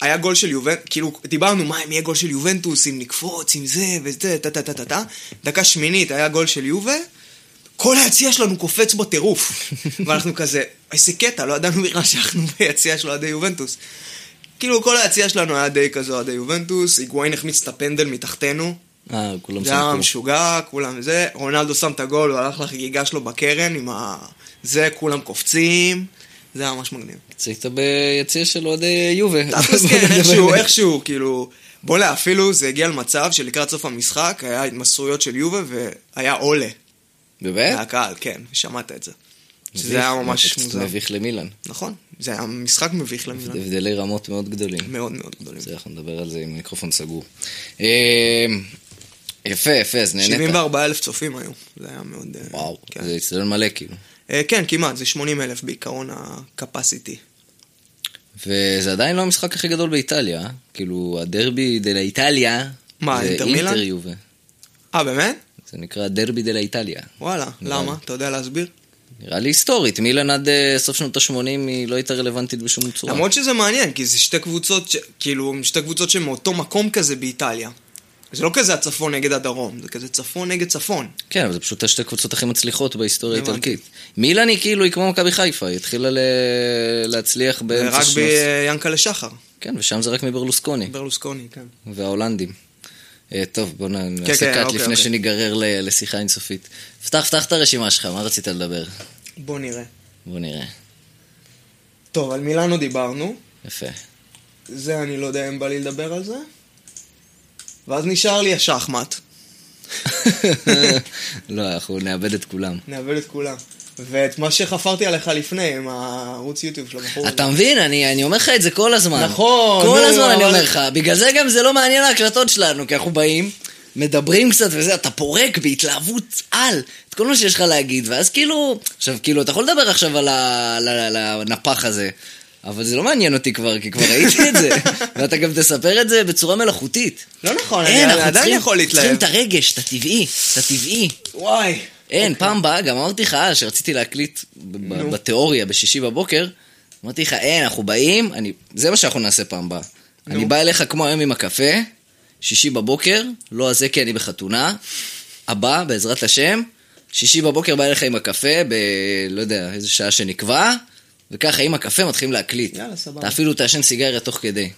B: היה גול של יובנטוס, כאילו דיברנו מה אם יהיה גול של יובנטוס, אם נקפוץ, אם זה וזה, טה טה טה טה טה, דקה שמינית היה גול של יובה, כל היציע שלנו קופץ בטירוף, ואנחנו כזה, איזה קטע, לא ידענו בכלל שאנחנו ביציע של אוהדי יובנטוס. כאילו כל היציע שלנו היה די כזה אוהדי יובנטוס, היגואין החמיץ את הפנדל מתחתנו,
A: אה, כולם
B: זה היה
A: שמעו.
B: משוגע, כולם זה, רונלדו שם את הגול, הוא הלך לחגיגה שלו בקרן עם ה... זה, כולם קופצים, זה היה ממש מגניב.
A: צחקת ביציע של אוהדי יובה.
B: תכלס כן, איכשהו, איכשהו, כאילו, בוא'לה, אפילו זה הגיע למצב שלקראת סוף המשחק היה התמסרויות של יובה והיה עולה
A: באמת?
B: מהקהל, כן, שמעת את זה. שזה
A: אה? מביך,
B: היה ממש
A: קצת
B: מוזר.
A: מביך למילן.
B: נכון, זה היה משחק מביך למילן,
A: הבדלי רמות מאוד גדולים.
B: מאוד מאוד גדולים.
A: זה, אנחנו נדבר על זה עם מיקרופון סגור. אה, יפה, יפה, אז נהנית.
B: 74 אלף צופים היו, זה היה מאוד... אה,
A: וואו,
B: כן.
A: זה הצטדיון מלא כאילו.
B: אה, כן, כמעט, זה 80 אלף בעיקרון ה-capacity.
A: וזה עדיין לא המשחק הכי גדול באיטליה, אה? כאילו הדרבי דלה איטליה.
B: מה,
A: זה
B: אינטר מילאן?
A: אינטר יובה.
B: אה, באמת?
A: זה נקרא דרבי דלה איטליה.
B: וואלה,
A: נראה
B: למה? אתה יודע להסביר?
A: נראה לי היסטורית, מילאן עד אה, סוף שנות ה-80 היא לא הייתה רלוונטית בשום צורה.
B: למרות שזה מעניין, כי זה שתי קבוצות, ש... כאילו, הם שתי קבוצות שהן מאותו מקום כזה באיטליה. זה לא כזה הצפון נגד הדרום, זה כזה צפון נגד צפון.
A: כן, אבל זה פשוט השתי קבוצות הכי מצליחות בהיסטוריה
B: הבנתי.
A: האיטלקית. מילאן היא כאילו, היא כמו מכבי חיפה, היא התחילה ל... להצליח באמצע
B: רק
A: שנות...
B: ביאנקלה שחר,
A: כן, ושם זה רק מברלוסקוני
B: ברלוסקוני, כן.
A: וההולנדים. אה, טוב, בוא נ-
B: כן,
A: נעשה קאט
B: אוקיי,
A: לפני
B: אוקיי.
A: שניגרר ל- לשיחה אינסופית. פתח, פתח את הרשימה שלך, מה רצית לדבר?
B: בוא נראה.
A: בוא נראה.
B: טוב, על מילאנו דיברנו.
A: יפה.
B: זה אני לא יודע אם בא לי לדבר על זה. ואז נשאר לי השחמט.
A: לא, אנחנו נאבד את כולם.
B: נאבד את כולם. ואת מה שחפרתי עליך לפני, עם הערוץ יוטיוב של הבחור הזה.
A: אתה מבין? אני, אני אומר לך את זה כל הזמן.
B: נכון,
A: כל
B: נו,
A: הזמן אני
B: אבל-
A: אומר לך. בגלל זה גם זה לא מעניין ההקלטות שלנו, כי אנחנו באים, מדברים קצת וזה, אתה פורק בהתלהבות על את כל מה שיש לך להגיד, ואז כאילו, עכשיו כאילו, אתה יכול לדבר עכשיו על ה- על ה- על הנפח הזה. אבל זה לא מעניין אותי כבר, כי כבר ראיתי את זה. ואתה גם תספר את זה בצורה מלאכותית.
B: לא נכון,
A: אין,
B: אני
A: אנחנו
B: עדיין
A: צריכים-
B: יכול להתלהב.
A: צריכים את הרגש, את הטבעי, את הטבעי.
B: וואי.
A: אין,
B: אוקיי.
A: פעם באה, גם אמרתי לך אז, שרציתי להקליט ב- ב- בתיאוריה בשישי בבוקר, אמרתי לך, אין, אנחנו באים, אני- זה מה שאנחנו נעשה פעם באה. אני בא אליך כמו היום עם הקפה, שישי בבוקר, לא זה כי אני בחתונה, הבא, בעזרת השם, שישי בבוקר בא אליך עם הקפה, ב... לא יודע, איזה שעה שנקבע, וככה עם הקפה מתחילים להקליט.
B: יאללה, סבבה.
A: אתה אפילו תעשן סיגריה תוך כדי.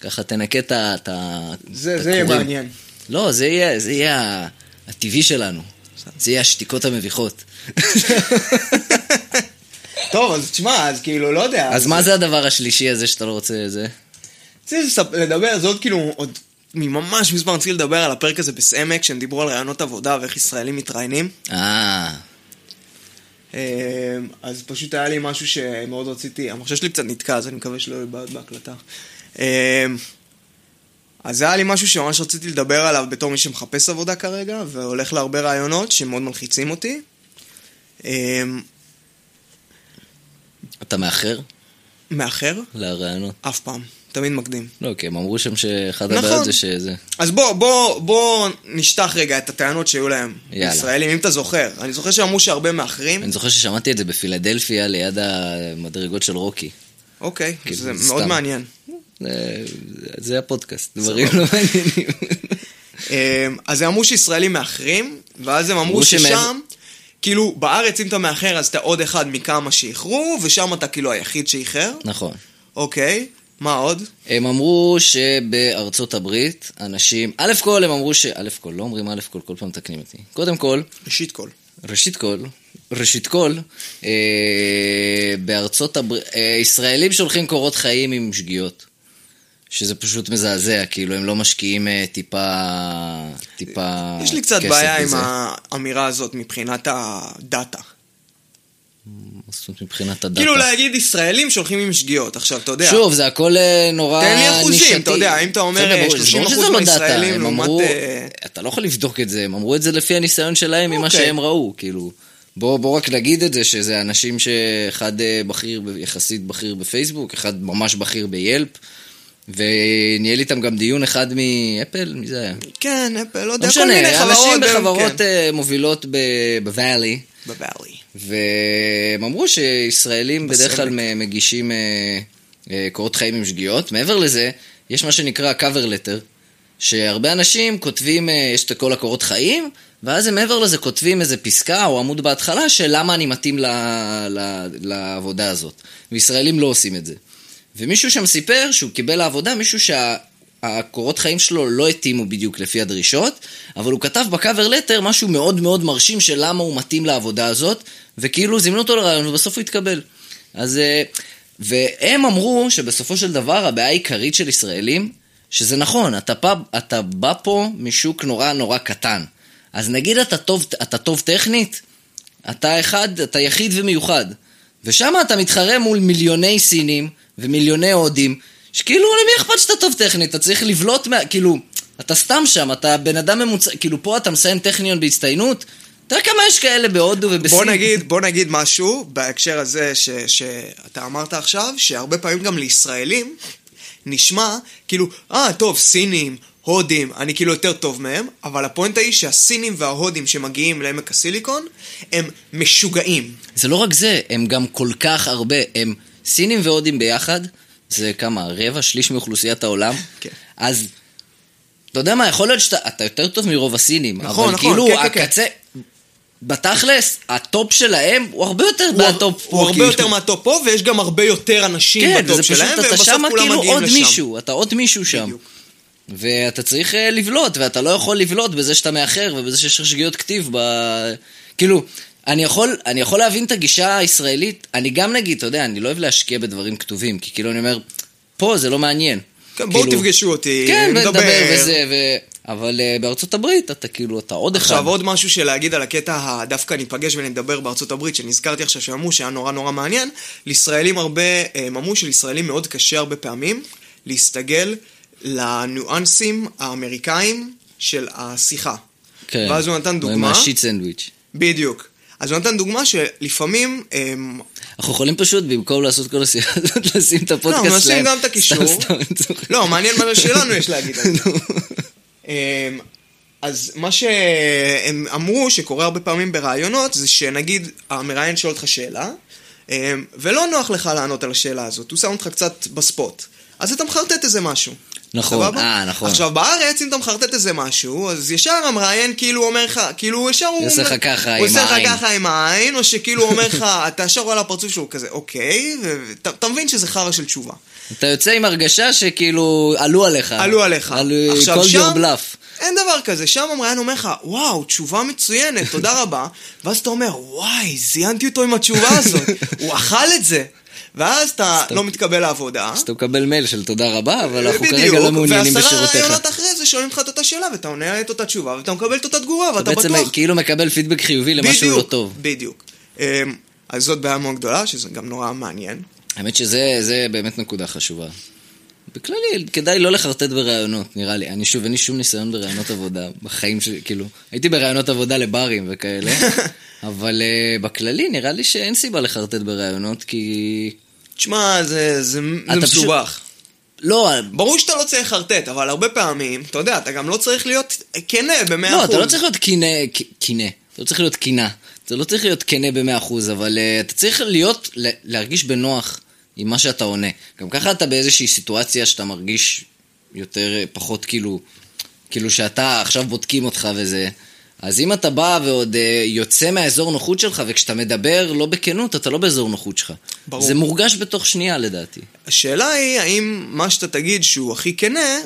A: ככה תנקה את ה... את ה- את
B: זה זה יהיה
A: הקורים.
B: מעניין.
A: לא, זה יהיה, זה יהיה ה- הטבעי שלנו. זה יהיה השתיקות המביכות.
B: טוב, אז תשמע, אז כאילו, לא יודע.
A: אז מה זה הדבר השלישי הזה שאתה לא רוצה זה?
B: רציתי לספ- לדבר, זה עוד כאילו, עוד ממש מזמן רציתי לדבר על הפרק הזה בסעמק, שהם דיברו על רעיונות עבודה ואיך ישראלים מתראיינים.
A: אה,
B: אמ, אז פשוט היה לי משהו שמאוד רציתי, המחשב שלי קצת נתקע, אז אני מקווה שלא יהיו בעיות בהקלטה. אמ, אז היה לי משהו שממש רציתי לדבר עליו בתור מי שמחפש עבודה כרגע, והולך להרבה רעיונות שמאוד מלחיצים אותי. אמ,
A: אתה מאחר
B: מאחר?
A: לרעיונות?
B: אף פעם. תמיד מקדים.
A: לא, כי הם אמרו שם שאחד
B: נכון.
A: הבעיות זה שזה.
B: אז בוא, בוא, בוא נשטח רגע את הטענות שהיו להם.
A: יאללה.
B: ישראלים, אם אתה זוכר. אני זוכר שאמרו שהרבה מאחרים.
A: אני זוכר ששמעתי את זה בפילדלפיה ליד המדרגות של רוקי.
B: אוקיי,
A: כאילו,
B: זה
A: סתם.
B: מאוד מעניין.
A: זה- זה הפודקאסט, דברים לא מעניינים.
B: אמ, אז הם אמרו שישראלים מאחרים, ואז הם אמרו
A: אמרו שהם-
B: ששם, כאילו, בארץ אם אתה מאחר אז אתה עוד אחד מכמה שאיחרו, ושם אתה כאילו היחיד שאיחר.
A: נכון.
B: אוקיי, מה עוד?
A: הם אמרו שבארצות הברית אנשים, א' כל הם אמרו ש... א' כל, לא אומרים א' כל, כל פעם מתקנים אותי. קודם כל,
B: ראשית כל.
A: ראשית כל, ראשית כל, אה, בארצות הברית, אה, ישראלים שולחים קורות חיים עם שגיאות. שזה פשוט מזעזע, כאילו הם לא משקיעים אה, טיפה, טיפה
B: יש לי קצת
A: אה, כסף
B: בעיה עם
A: בזה.
B: האמירה הזאת מבחינת הדאטה.
A: מה זאת אומרת מבחינת הדאטה.
B: כאילו להגיד ישראלים שהולכים עם שגיאות, עכשיו אתה יודע.
A: שוב, זה הכל אה, נורא
B: תן לי אחוזים,
A: נישתי.
B: אתה יודע, אם אתה אומר, אה,
A: בסדר, ברור, זה
B: 30%
A: ברור שזה לא דאטה,
B: מהישראלים
A: הם
B: לעומת,
A: אמרו-
B: אה,
A: אתה לא יכול לבדוק את זה, הם אמרו את זה לפי הניסיון שלהם ממה
B: אוקיי.
A: שהם ראו, כאילו. בוא, בוא רק נגיד את זה, שזה אנשים שאחד אה, בכיר, ב- יחסית בכיר בפייסבוק, אחד ממש בכיר ביילפ, וניהל איתם גם דיון אחד מאפל, מי זה היה?
B: כן, אפל, לא
A: לא
B: יודע, כל מיני
A: משנה,
B: חברות.
A: אנשים
B: כן,
A: בחברות אה, מובילות ב- בוואלי.
B: בבעלי.
A: והם אמרו שישראלים
B: בסמק.
A: בדרך כלל מ- מגישים אה, אה, קורות חיים עם שגיאות. מעבר לזה, יש מה שנקרא cover letter, שהרבה אנשים כותבים, אה, יש את כל הקורות חיים, ואז הם מעבר לזה כותבים איזה פסקה או עמוד בהתחלה של למה אני מתאים ל- ל- לעבודה הזאת. וישראלים לא עושים את זה. ומישהו שם סיפר שהוא קיבל לעבודה מישהו שהקורות חיים שלו לא התאימו בדיוק לפי הדרישות, אבל הוא כתב בקאבר לטר משהו מאוד מאוד מרשים של למה הוא מתאים לעבודה הזאת, וכאילו זימנו אותו לרעיון ובסוף הוא התקבל. אז... אה, והם אמרו שבסופו של דבר הבעיה העיקרית של ישראלים, שזה נכון, אתה, פע, אתה בא פה משוק נורא נורא קטן. אז נגיד אתה טוב, אתה טוב טכנית, אתה אחד, אתה יחיד ומיוחד. ושם אתה מתחרה מול מיליוני סינים ומיליוני הודים, שכאילו למי אכפת שאתה טוב טכנית, אתה צריך לבלוט, מה, כאילו, אתה סתם שם, אתה בן אדם ממוצע, כאילו פה אתה מסיים טכניון בהצטיינות, אתה יודע כמה יש כאלה בהודו ובסין.
B: בוא נגיד, בוא נגיד משהו בהקשר הזה ש, שאתה אמרת עכשיו, שהרבה פעמים גם לישראלים נשמע כאילו, אה, טוב, סינים, הודים, אני כאילו יותר טוב מהם, אבל הפואנטה היא שהסינים וההודים שמגיעים לעמק הסיליקון, הם משוגעים.
A: זה לא רק זה, הם גם כל כך הרבה, הם סינים והודים ביחד, זה כמה, רבע, שליש מאוכלוסיית העולם?
B: כן.
A: אז, אתה יודע מה, יכול להיות שאתה אתה יותר טוב מרוב הסינים,
B: נכון,
A: אבל
B: נכון,
A: כאילו
B: כן, כן, כן.
A: הקצה, בתכלס, הטופ שלהם הוא הרבה יותר
B: הוא-
A: מהטופ פה,
B: הוא הרבה
A: כאילו.
B: יותר מהטופ פה, ויש גם הרבה יותר אנשים
A: כן,
B: בטופ
A: זה פשוט,
B: שלהם,
A: אתה
B: ובסוף
A: שמה
B: כולם
A: כאילו
B: מגיעים
A: עוד
B: לשם.
A: מישהו, אתה עוד מישהו שם.
B: בדיוק.
A: ואתה צריך אה, לבלוט, ואתה לא יכול לבלוט בזה שאתה מאחר ובזה שיש לך שגיאות כתיב ב... כאילו, אני יכול, אני יכול להבין את הגישה הישראלית, אני גם נגיד, אתה יודע, אני לא אוהב להשקיע בדברים כתובים, כי כאילו אני אומר, פה זה לא מעניין.
B: כן, בואו
A: כאילו,
B: תפגשו אותי,
A: כן,
B: נדבר.
A: ונדבר וזה, ו... אבל אה, בארצות הברית אתה כאילו, אתה עוד אחד.
B: עכשיו עוד משהו שלהגיד על הקטע הדווקא ניפגש ונדבר בארצות הברית, שנזכרתי עכשיו שאמרו שהיה נורא נורא מעניין, לישראלים הרבה, אה, הם אמרו שלישראלים מאוד קשה הרבה פעמים להסתגל לניואנסים האמריקאים של השיחה.
A: כן.
B: ואז הוא נתן
A: עם
B: דוגמה,
A: השיט סנדוויץ'.
B: בדיוק. אז הוא נתן דוגמה שלפעמים, אמ,
A: אנחנו יכולים פשוט, במקום לעשות כל השיחה הזאת, לשים את הפודקאסט
B: לא,
A: שלהם.
B: נשים גם את הקישור.
A: סתם, סתם, אני צוחק.
B: לא, מעניין מה שלנו יש להגיד על זה.
A: נו.
B: אמ, אז מה שהם אמרו שקורה הרבה פעמים בראיונות זה שנגיד המראיין שואל אותך שאלה אמ, ולא נוח לך לענות על השאלה הזאת, הוא שם אותך קצת בספוט. אז אתה מחרטט איזה משהו.
A: נכון,
B: סבבה?
A: אה, נכון.
B: עכשיו בארץ אם אתה מחרטט איזה משהו, אז ישר המראיין כאילו אומר לך, כאילו ישר הוא...
A: עושה לך
B: אומר-
A: ככה עם
B: הוא עושה לך
A: העין.
B: ככה עם העין, או שכאילו הוא אומר לך, אתה ישר רואה על הפרצוף שלו כזה, אוקיי, ואתה אתה מבין שזה חרא של תשובה.
A: אתה יוצא עם הרגשה שכאילו עלו עליך.
B: עלו עליך. עכשיו,
A: אה, כל
B: שם-
A: יום בלאף.
B: אין דבר כזה, שם המראיין אומר לך, וואו, תשובה מצוינת, תודה רבה. ואז אתה אומר, וואי, זיינתי אותו עם התשובה הזאת, הוא אכל את זה. ואז אתה לא מתקבל לעבודה.
A: אז אתה מקבל מייל של תודה רבה, אבל אנחנו
B: בדיוק,
A: כרגע לא מעוניינים
B: ועשרה
A: בשירותיך.
B: רעיונות אחרי זה שואלים לך את אותה שאלה, ואתה עונה את אותה תשובה, ואתה מקבל את אותה תגובה,
A: אתה
B: ואתה בטוח.
A: בעצם כאילו מקבל פידבק חיובי למשהו לא
B: בדיוק,
A: טוב.
B: בדיוק. אמ, אז זאת בעיה מאוד גדולה, שזה גם נורא מעניין.
A: האמת שזה זה באמת נקודה חשובה. בכללי, כדאי לא לחרטט בראיונות, נראה לי. אני שוב, אין לי שום ניסיון בראיונות עבודה, בחיים שלי, כאילו, הייתי בראיונות עבודה לברים וכאלה, אבל אה, בכללי נראה לי שאין סיבה לחרטט בראיונות, כי...
B: תשמע, זה זה- זה
A: אתה פשוט-
B: מסובך.
A: לא,
B: ברור שאתה לא צריך לחרטט, אבל הרבה פעמים, אתה יודע, אתה גם לא צריך להיות כן במאה אחוז.
A: לא, אתה לא צריך להיות קינה, ק- קינה. אתה לא צריך להיות קינה. אתה לא צריך להיות כנה במאה אחוז, אבל אה, אתה צריך להיות, ל- להרגיש בנוח עם מה שאתה עונה. גם ככה אתה באיזושהי סיטואציה שאתה מרגיש יותר, אה, פחות כאילו, כאילו שאתה, עכשיו בודקים אותך וזה. אז אם אתה בא ועוד אה, יוצא מהאזור נוחות שלך, וכשאתה מדבר לא בכנות, אתה לא באזור נוחות שלך.
B: ברור.
A: זה מורגש בתוך שנייה לדעתי.
B: השאלה היא, האם מה שאתה תגיד שהוא הכי כנה,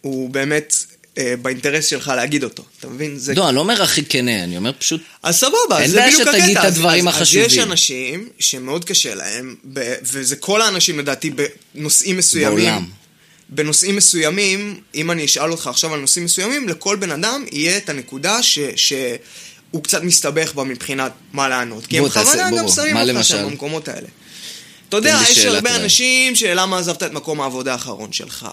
B: הוא באמת אה, באינטרס שלך להגיד אותו. אתה מבין? זה...
A: לא, אני לא אומר הכי כנה, אני אומר פשוט...
B: אז סבבה,
A: אין
B: זה
A: בעיה
B: בדיוק הקטע.
A: שתגיד את
B: אז-
A: הדברים
B: אז-
A: החשובים.
B: אז יש אנשים שמאוד קשה להם, ב... וזה כל האנשים לדעתי בנושאים מסוימים.
A: בעולם.
B: בנושאים מסוימים, אם אני אשאל אותך עכשיו על נושאים מסוימים, לכל בן אדם יהיה את הנקודה ש... ש... הוא קצת מסתבך בה מבחינת מה לענות. כי הם
A: בוא תעשה,
B: בכוונה
A: בוא,
B: גם
A: בוא.
B: שמים
A: מה
B: אותך
A: למשל?
B: שם במקומות האלה. אתה יודע,
A: לי
B: יש
A: שאלה
B: הרבה
A: טובה.
B: אנשים שלמה עזבת את מקום העבודה האחרון שלך,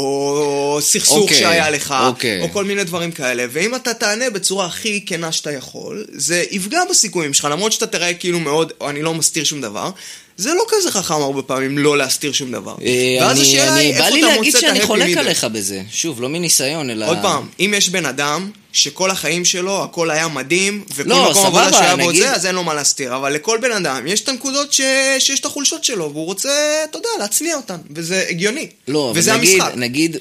B: או סכסוך
A: אוקיי,
B: שהיה לך,
A: אוקיי.
B: או כל מיני דברים כאלה, ואם אתה תענה בצורה הכי כנה שאתה יכול, זה יפגע בסיכויים שלך, למרות שאתה תראה כאילו מאוד, או אני לא מסתיר שום דבר. זה לא כזה חכם הרבה פעמים לא להסתיר שום דבר.
A: אה,
B: ואז
A: אני-
B: השאלה
A: אני-
B: היא
A: בא
B: איפה
A: לי
B: אתה
A: להגיד
B: מוצא את
A: שאני
B: ה-happy
A: חולק
B: middle.
A: עליך בזה. שוב, לא מניסיון, אלא...
B: עוד פעם, אם יש בן אדם שכל החיים שלו הכל היה מדהים, וכל
A: לא,
B: מקום
A: סבבה,
B: עבודה שהיה בו
A: נגיד-
B: זה, אז אין לו מה להסתיר. אבל לכל בן אדם יש את הנקודות ש... שיש את החולשות שלו, והוא רוצה, אתה יודע, להצניע אותן, וזה הגיוני.
A: לא,
B: וזה
A: אבל נגיד,
B: המשחק.
A: נגיד,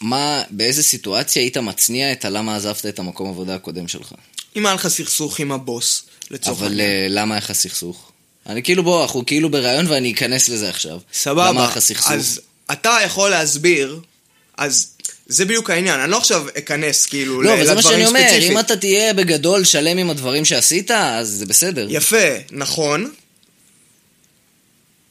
A: מה, באיזה סיטואציה היית מצניע את הלמה עזבת את המקום עבודה הקודם שלך?
B: אם היה לך סכסוך עם הבוס, לצורך
A: אבל
B: העניין.
A: אה, למה היה לך סכסוך? אני כאילו, בוא, אנחנו כאילו ברעיון ואני אכנס לזה עכשיו.
B: סבבה.
A: למה היה לך סכסוך?
B: אז אתה יכול להסביר, אז זה בדיוק העניין. אני לא עכשיו אכנס כאילו
A: לא,
B: ל-
A: אבל זה מה שאני
B: לדברים
A: אומר,
B: ספציפית.
A: אם אתה תהיה בגדול שלם עם הדברים שעשית, אז זה בסדר.
B: יפה, נכון.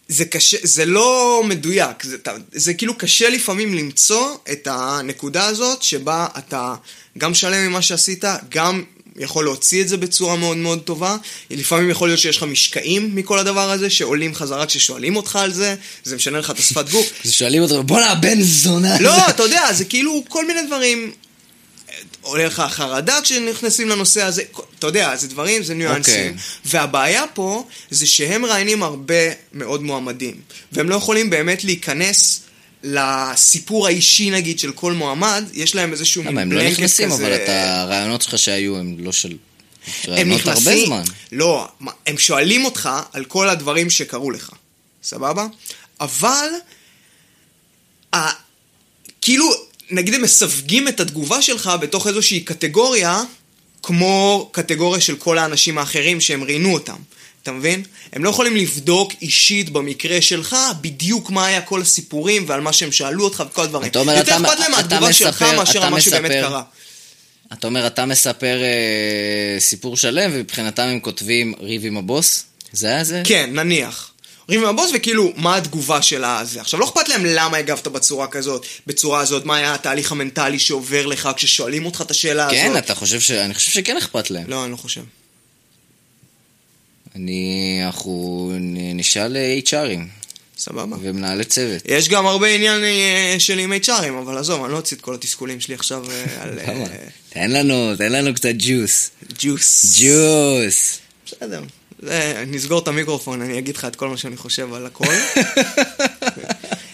B: זה קשה, זה לא מדויק, זה, אתה- זה כאילו קשה לפעמים למצוא את הנקודה הזאת שבה אתה גם שלם עם מה שעשית, גם יכול להוציא את זה בצורה מאוד מאוד טובה. לפעמים יכול להיות שיש לך משקעים מכל הדבר הזה, שעולים חזרה כששואלים אותך על זה, זה משנה לך את השפת גוף.
A: אז שואלים אותו, בואנה, בן זונה.
B: לא, אתה יודע, זה כאילו כל מיני דברים. עולה לך חרדה כשנכנסים לנושא הזה, אתה יודע, זה דברים, זה ניואנסים.
A: אוקיי.
B: והבעיה פה זה שהם מראיינים הרבה מאוד מועמדים, והם לא יכולים באמת להיכנס לסיפור האישי נגיד של כל מועמד, יש להם איזשהו
A: למה, הם לא נכנסים, אבל אתה- הרעיונות שלך שהיו הם לא של...
B: הם
A: רעיונות הרבה
B: נכנסים,
A: זמן.
B: לא, מה- הם שואלים אותך על כל הדברים שקרו לך, סבבה? אבל, ה, כאילו, נגיד הם מסווגים את התגובה שלך בתוך איזושהי קטגוריה, כמו קטגוריה של כל האנשים האחרים שהם ראיינו אותם. אתה מבין? הם לא יכולים לבדוק אישית במקרה שלך בדיוק מה היה כל הסיפורים ועל מה שהם שאלו אותך וכל הדברים.
A: אתה אומר, אתה-
B: יותר אכפת להם
A: אתה
B: מהתגובה שלך
A: מספר-
B: מאשר
A: אתה
B: על מה שבאמת
A: מספר.
B: קרה.
A: אתה אומר, אתה מספר אה, סיפור שלם, ומבחינתם הם כותבים ריב עם הבוס? זה היה זה?
B: כן, נניח. ריב עם הבוס וכאילו, מה התגובה שלה על זה. עכשיו, לא אכפת להם למה הגבת בצורה כזאת, בצורה הזאת, מה היה התהליך המנטלי שעובר לך כששואלים אותך את השאלה הזאת.
A: כן, אתה חושב ש... אני חושב שכן אכפת להם.
B: לא, אני לא חושב.
A: אני... אנחנו נ- נשאל אה, HRים
B: סבבה.
A: ומנהלי צוות.
B: יש גם הרבה עניין אה, של עם HRים, אבל עזוב, אני לא אוציא את כל התסכולים שלי עכשיו אה, על אה,
A: למה? תן לנו, תן לנו קצת ג'וס.
B: ג'וס.
A: ג'וס.
B: בסדר. זה- אה, נסגור את המיקרופון, אני אגיד לך את כל מה שאני חושב על הכל.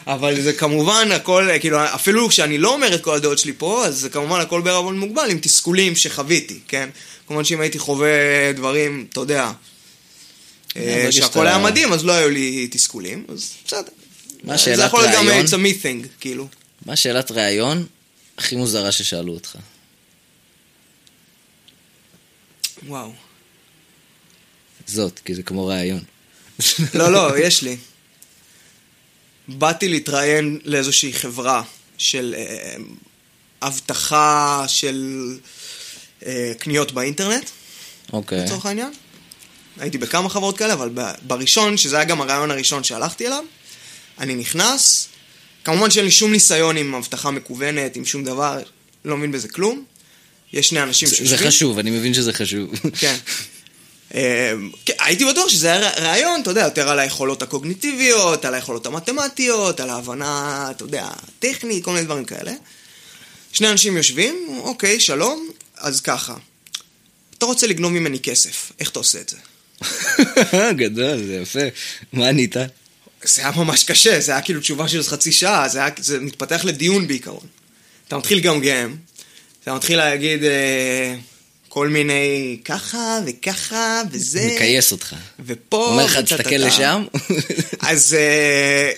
B: אבל זה כמובן הכל, אה, כאילו, אפילו כשאני לא אומר את כל הדעות שלי פה, אז זה כמובן הכל בערבון מוגבל עם תסכולים שחוויתי, כן? כמובן שאם הייתי חווה דברים, אתה יודע, אה,
A: ברגע
B: שהכל
A: שאתה-
B: היה מדהים, אז לא היו לי תסכולים, אז בסדר.
A: מה
B: זה
A: שאלת
B: יכול להיות גם
A: ראיון?
B: it's a me thing, כאילו.
A: מה שאלת ראיון הכי מוזרה ששאלו אותך?
B: וואו.
A: זאת, כי זה כמו ראיון.
B: לא, לא, יש לי. באתי להתראיין לאיזושהי חברה של אה, אבטחה של אה, קניות באינטרנט,
A: אוקיי.
B: לצורך העניין. הייתי בכמה חברות כאלה, אבל ב- בראשון, שזה היה גם הרעיון הראשון שהלכתי אליו, אני נכנס. כמובן שאין לי שום ניסיון עם אבטחה מקוונת, עם שום דבר, לא מבין בזה כלום. יש שני אנשים
A: זה- זה חשוב, אני מבין שזה חשוב.
B: כן. אה, כן, הייתי בטוח שזה היה רע- רעיון, אתה יודע, יותר על היכולות הקוגניטיביות, על היכולות המתמטיות, על ההבנה, אתה יודע, הטכנית, כל מיני דברים כאלה. שני אנשים יושבים, אוקיי, שלום, אז ככה. אתה רוצה לגנוב ממני כסף, איך אתה עושה את זה?
A: גדול, זה יפה. מה ענית?
B: אה. זה היה ממש קשה, זה היה כאילו תשובה של חצי שעה, זה, היה, זה מתפתח לדיון בעיקרון. אתה מתחיל לגמגם, אתה מתחיל להגיד אה, כל מיני ככה וככה וזה.
A: מכייס אותך.
B: ופה...
A: אומר לך,
B: וטה-טה-טה.
A: תסתכל לשם.
B: אז אה,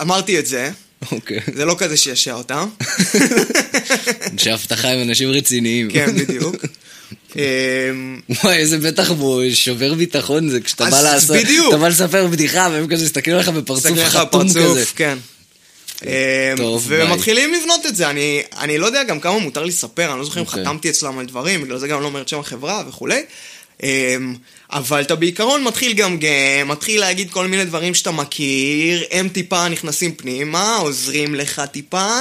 B: אמרתי את זה,
A: אוקיי.
B: זה לא כזה שישע אותם.
A: שהבטחה עם אנשים רציניים.
B: כן, בדיוק. אה,
A: וואי, איזה בטח בו, שובר ביטחון זה כשאתה
B: אז
A: בא לעשות...
B: בדיוק.
A: אתה בא לספר בדיחה, והם כזה מסתכלים עליך בפרצוף
B: מסתכלים לך
A: חתום כזה.
B: בפרצוף, כן. אה,
A: טוב, ביי.
B: ומתחילים לבנות את זה, אני, אני לא יודע גם כמה מותר לספר, אני לא זוכר אם
A: אוקיי.
B: חתמתי אצלם על דברים, בגלל זה גם לא אומר את שם החברה וכולי. אה, אבל אתה בעיקרון מתחיל גם, גם, מתחיל להגיד כל מיני דברים שאתה מכיר, הם טיפה נכנסים פנימה, עוזרים לך טיפה,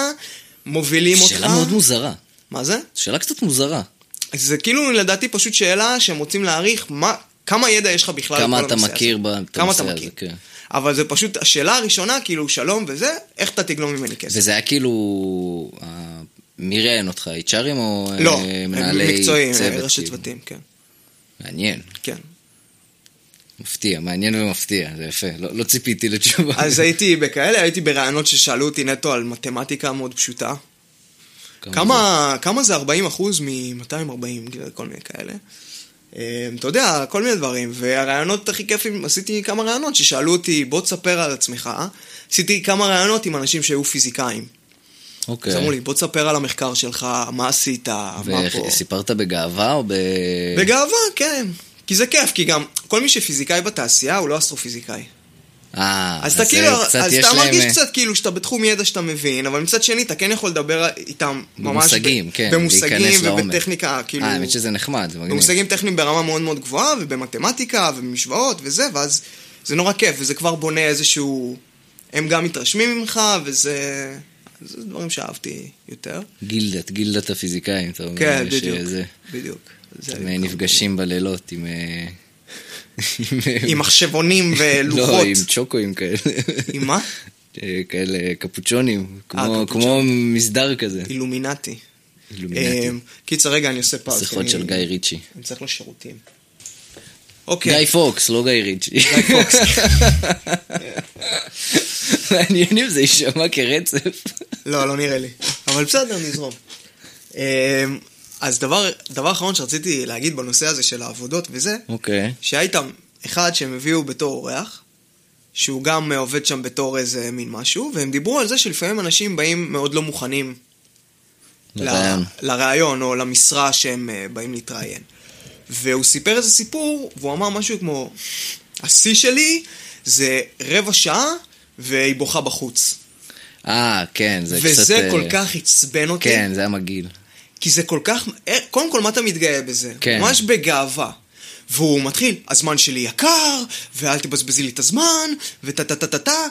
B: מובילים אותך.
A: שאלה מאוד מוזרה.
B: מה זה?
A: שאלה קצת מוזרה.
B: זה כאילו לדעתי פשוט שאלה שהם רוצים להעריך מה, כמה ידע יש לך בכלל
A: כמה
B: על כל
A: אתה
B: הנושא
A: מכיר
B: הזה.
A: בנושא
B: כמה אתה
A: הזה,
B: מכיר.
A: כן.
B: אבל זה פשוט השאלה הראשונה, כאילו שלום וזה, איך אתה תגנוב ממני כסף.
A: וזה היה כאילו... אה, מי ראיין אותך? HRים או אה,
B: לא,
A: מנהלי
B: מקצועי,
A: צוות?
B: ראשי
A: כאילו?
B: צוותים, כן.
A: מעניין.
B: כן.
A: מפתיע, מעניין ומפתיע, זה יפה. לא לא ציפיתי לתשובה.
B: אז אה, הייתי בכאלה, הייתי ברעיונות ששאלו אותי נטו על מתמטיקה מאוד פשוטה. כמה, כמה זה 40 אחוז מ-240, כל מיני כאלה. אה, אתה יודע, כל מיני דברים. והרעיונות הכי כיפים, עשיתי כמה רעיונות ששאלו אותי, בוא תספר על עצמך. עשיתי כמה רעיונות עם אנשים שהיו פיזיקאים.
A: אוקיי.
B: אז אמרו לי, בוא תספר על המחקר שלך, מה עשית, מה פה.
A: וסיפרת בגאווה או ב...
B: בגאווה, כן. כי זה כיף, כי גם כל מי שפיזיקאי בתעשייה הוא לא אסטרופיזיקאי.
A: אה,
B: אז אתה כאילו,
A: קצת
B: אז
A: יש
B: אתה
A: להם,
B: מרגיש
A: אה,
B: קצת כאילו שאתה בתחום ידע שאתה מבין, אבל מצד שני אתה כן יכול לדבר איתם ממש...
A: במושגים,
B: ב-
A: כן,
B: במושגים
A: להיכנס לעומק.
B: ובטכניקה, כאילו...
A: אה, האמת שזה נחמד, זה מגניב.
B: במושגים טכניים ברמה מאוד מאוד גבוהה, ובמתמטיקה, ובמשוואות, וזה, ואז זה נורא כיף, וזה כבר בונה איזשהו... הם גם מתרשמים ממך, וזה... זה דברים שאהבתי יותר.
A: גילדת, גילדת הפיזיקאים, אתה אומר.
B: כן,
A: ש-
B: בדיוק.
A: זה,
B: בדיוק. זה-
A: הם אה, נפגשים בלילות עם... אה,
B: עם אה, מחשבונים
A: לא,
B: ולוחות.
A: עם צ'וקואים כאלה.
B: עם אה, מה?
A: אה, כאלה קפוצ'ונים, כמו, כמו
B: קפוצ'ונים.
A: מסדר כזה.
B: אה, אילומינטי.
A: אילומינטי.
B: אמ, קיצר, רגע, אני עושה פאוס.
A: שיחות
B: אני-
A: של גיא ריצ'י.
B: אני צריך לשירותים. אוקיי.
A: גיא פוקס, לא גיא ריצ'י. גיא פוקס. מעניין אם זה יישמע כרצף.
B: לא, לא נראה לי. אבל בסדר, נזרום. אמ, אז דבר, דבר אחרון שרציתי להגיד בנושא הזה של העבודות וזה,
A: אוקיי.
B: שהיה איתם אחד שהם הביאו בתור אורח, שהוא גם אה, עובד שם בתור איזה מין משהו, והם דיברו על זה שלפעמים אנשים באים מאוד לא מוכנים ל-
A: לרעיון.
B: לרעיון או למשרה שהם אה, באים להתראיין. והוא סיפר איזה סיפור, והוא אמר משהו כמו, השיא שלי זה רבע שעה והיא בוכה בחוץ.
A: אה, כן, זה קצת...
B: וזה כל
A: אה,
B: כך עצבן אותי.
A: כן, זה היה מגעיל.
B: כי זה כל כך... אה, קודם כל, מה אתה מתגאה בזה?
A: כן.
B: ממש בגאווה. והוא מתחיל, הזמן שלי יקר, ואל תבזבזי לי את הזמן, וטה טה טה טה טה,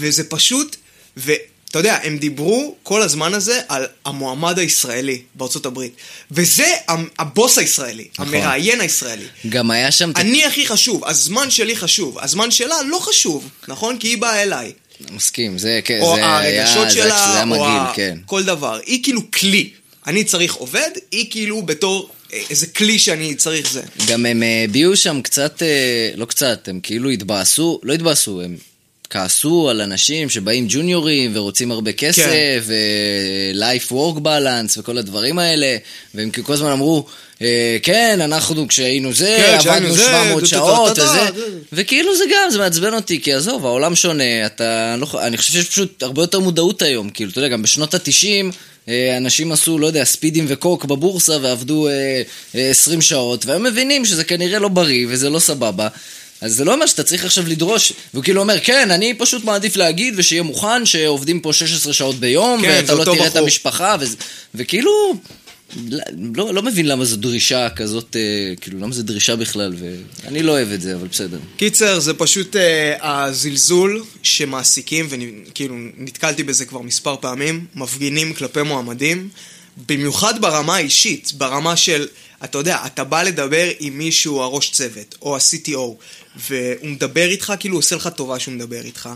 B: וזה פשוט... ואתה יודע, הם דיברו כל הזמן הזה על המועמד הישראלי בארצות הברית. וזה המ- הבוס הישראלי,
A: נכון.
B: המראיין הישראלי.
A: גם היה שם... את-
B: אני הכי חשוב, הזמן שלי חשוב, הזמן שלה לא חשוב, נכון? כי היא באה אליי.
A: מסכים, זה כן,
B: או
A: זה היה...
B: הרגשות
A: זה-
B: שלה,
A: זה היה
B: או
A: מגעיל,
B: ה-
A: כן.
B: כל דבר. היא כאילו כלי. אני צריך עובד, היא כאילו בתור אה, איזה כלי שאני צריך זה.
A: גם הם אה, הביעו שם קצת, אה, לא קצת, הם כאילו התבאסו, לא התבאסו, הם כעסו על אנשים שבאים ג'וניורים ורוצים הרבה
B: כן.
A: כסף, ו-life work balance וכל הדברים האלה, והם כאילו כל הזמן אמרו, אה, כן, אנחנו כשהיינו זה,
B: כן, כשהיינו
A: עבדנו
B: זה,
A: 700
B: טו-טו-טו-טו-טו,
A: שעות וזה,
B: זה-
A: וכאילו זה גם, זה מעצבן אותי, כי עזוב, העולם שונה, אתה, לא, ח- אני חושב שיש פשוט הרבה יותר מודעות היום, כאילו, אתה יודע, גם בשנות התשעים, אנשים עשו, לא יודע, ספידים וקוק בבורסה ועבדו אה, אה, 20 שעות, והם מבינים שזה כנראה לא בריא וזה לא סבבה. אז זה לא אומר שאתה צריך עכשיו לדרוש, והוא כאילו אומר, כן, אני פשוט מעדיף להגיד ושיהיה מוכן שעובדים פה 16 שעות ביום,
B: כן,
A: ואתה
B: זה
A: לא
B: אותו
A: תראה את
B: בחור."
A: המשפחה, וזה, וכאילו, לא, לא מבין למה זו דרישה כזאת, אה, כאילו, למה זו דרישה בכלל, ואני לא אוהב את זה, אבל בסדר.
B: קיצר, זה פשוט אה, הזלזול שמעסיקים, וכאילו נתקלתי בזה כבר מספר פעמים, מפגינים כלפי מועמדים, במיוחד ברמה האישית, ברמה של, אתה יודע, אתה בא לדבר עם מישהו, הראש צוות, או ה-CTO, והוא מדבר איתך, כאילו הוא עושה לך טובה שהוא מדבר איתך.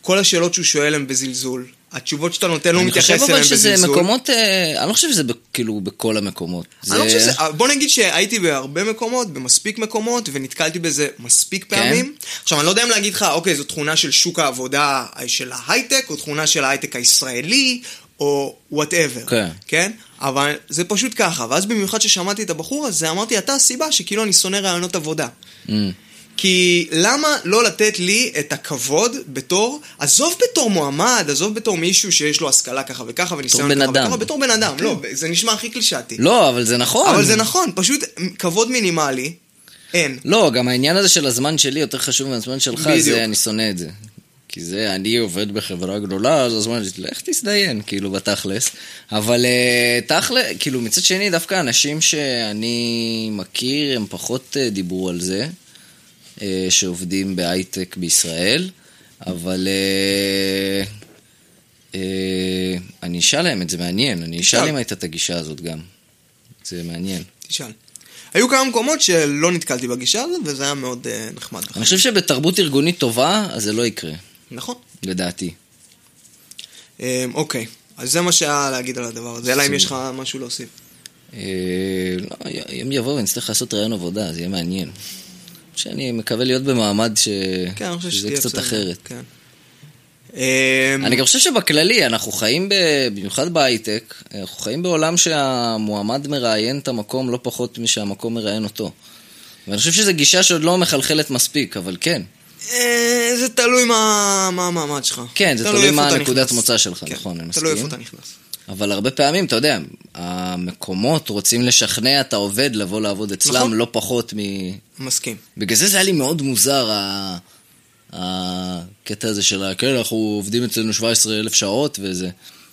B: כל השאלות שהוא שואל הן בזלזול. התשובות שאתה נותן לו, הוא
A: אני
B: מתייחס
A: חושב
B: אליהן בזלזול.
A: אבל שזה מקומות, אה, אני לא חושב שזה ב- כאילו בכל המקומות.
B: אני לא חושב שזה, בוא נגיד שהייתי בהרבה מקומות, במספיק מקומות, ונתקלתי בזה מספיק
A: כן.
B: פעמים. עכשיו, אני לא יודע אם להגיד לך, אוקיי, זו תכונה של שוק העבודה אה, של ההייטק, או תכונה של ההייטק הישראלי, או וואטאבר.
A: כן.
B: כן? אבל זה פשוט ככה. ואז במיוחד ששמעתי את הבחור הזה, אמרתי, אתה הסיבה שכאילו אני שונא רעיונות עבודה.
A: Mm.
B: כי למה לא לתת לי את הכבוד בתור, עזוב בתור מועמד, עזוב בתור מישהו שיש לו השכלה ככה וככה וניסיון
A: בן
B: ככה
A: אדם. כן.
B: וככה, בתור בן אדם, לא, זה נשמע הכי קלישאתי.
A: לא, אבל זה נכון.
B: אבל זה נכון, פשוט כבוד מינימלי, אין.
A: לא, גם העניין הזה של הזמן שלי יותר חשוב מהזמן שלך,
B: בדיוק.
A: זה, אני שונא את זה. כי זה, אני עובד בחברה גדולה, אז הזמן שלי, לך תזדיין, כאילו, בתכלס. אבל אה, תכלס, כאילו, מצד שני, דווקא אנשים שאני מכיר, הם פחות אה, דיברו על זה, אה, שעובדים בהייטק בישראל, אבל... אה, אה, אני אשאל להם את זה, מעניין. אני אשאל
B: תשאל.
A: אם הייתה את הגישה הזאת גם. זה מעניין.
B: תשאל. היו כמה מקומות שלא נתקלתי בגישה הזאת, וזה היה מאוד אה, נחמד.
A: אני חושב שבתרבות ארגונית טובה, אז זה לא יקרה.
B: נכון.
A: לדעתי.
B: אה, אוקיי, אז זה מה שהיה להגיד על הדבר הזה, אלא אם יש לך משהו להוסיף.
A: אה, לא, י- יום יבוא ונצטרך לעשות רעיון עבודה, זה יהיה מעניין. שאני מקווה להיות במעמד ש...
B: כן, אני חושב
A: שזה
B: שתהיה
A: קצת
B: בסדר.
A: אחרת.
B: כן. אה,
A: אני גם חושב שבכללי, אנחנו חיים, ב- במיוחד בהייטק, אנחנו חיים בעולם שהמועמד מראיין את המקום לא פחות משהמקום מראיין אותו. ואני חושב שזו גישה שעוד לא מחלחלת מספיק, אבל כן.
B: אה, זה תלוי מה מה המעמד שלך.
A: כן, זה תלוי
B: איפה
A: מה
B: אתה
A: הנקודת
B: נכנס.
A: מוצא שלך,
B: כן,
A: נכון, אני
B: תלוי
A: מסכים.
B: איפה אתה נכנס.
A: אבל הרבה פעמים, אתה יודע, המקומות רוצים לשכנע את העובד לבוא לעבוד אצלם,
B: נכון.
A: לא פחות מ...
B: מסכים.
A: בגלל זה זה היה לי מאוד מוזר, ה- הקטע הזה של ה... כן, אנחנו עובדים אצלנו 17 אלף שעות וזה.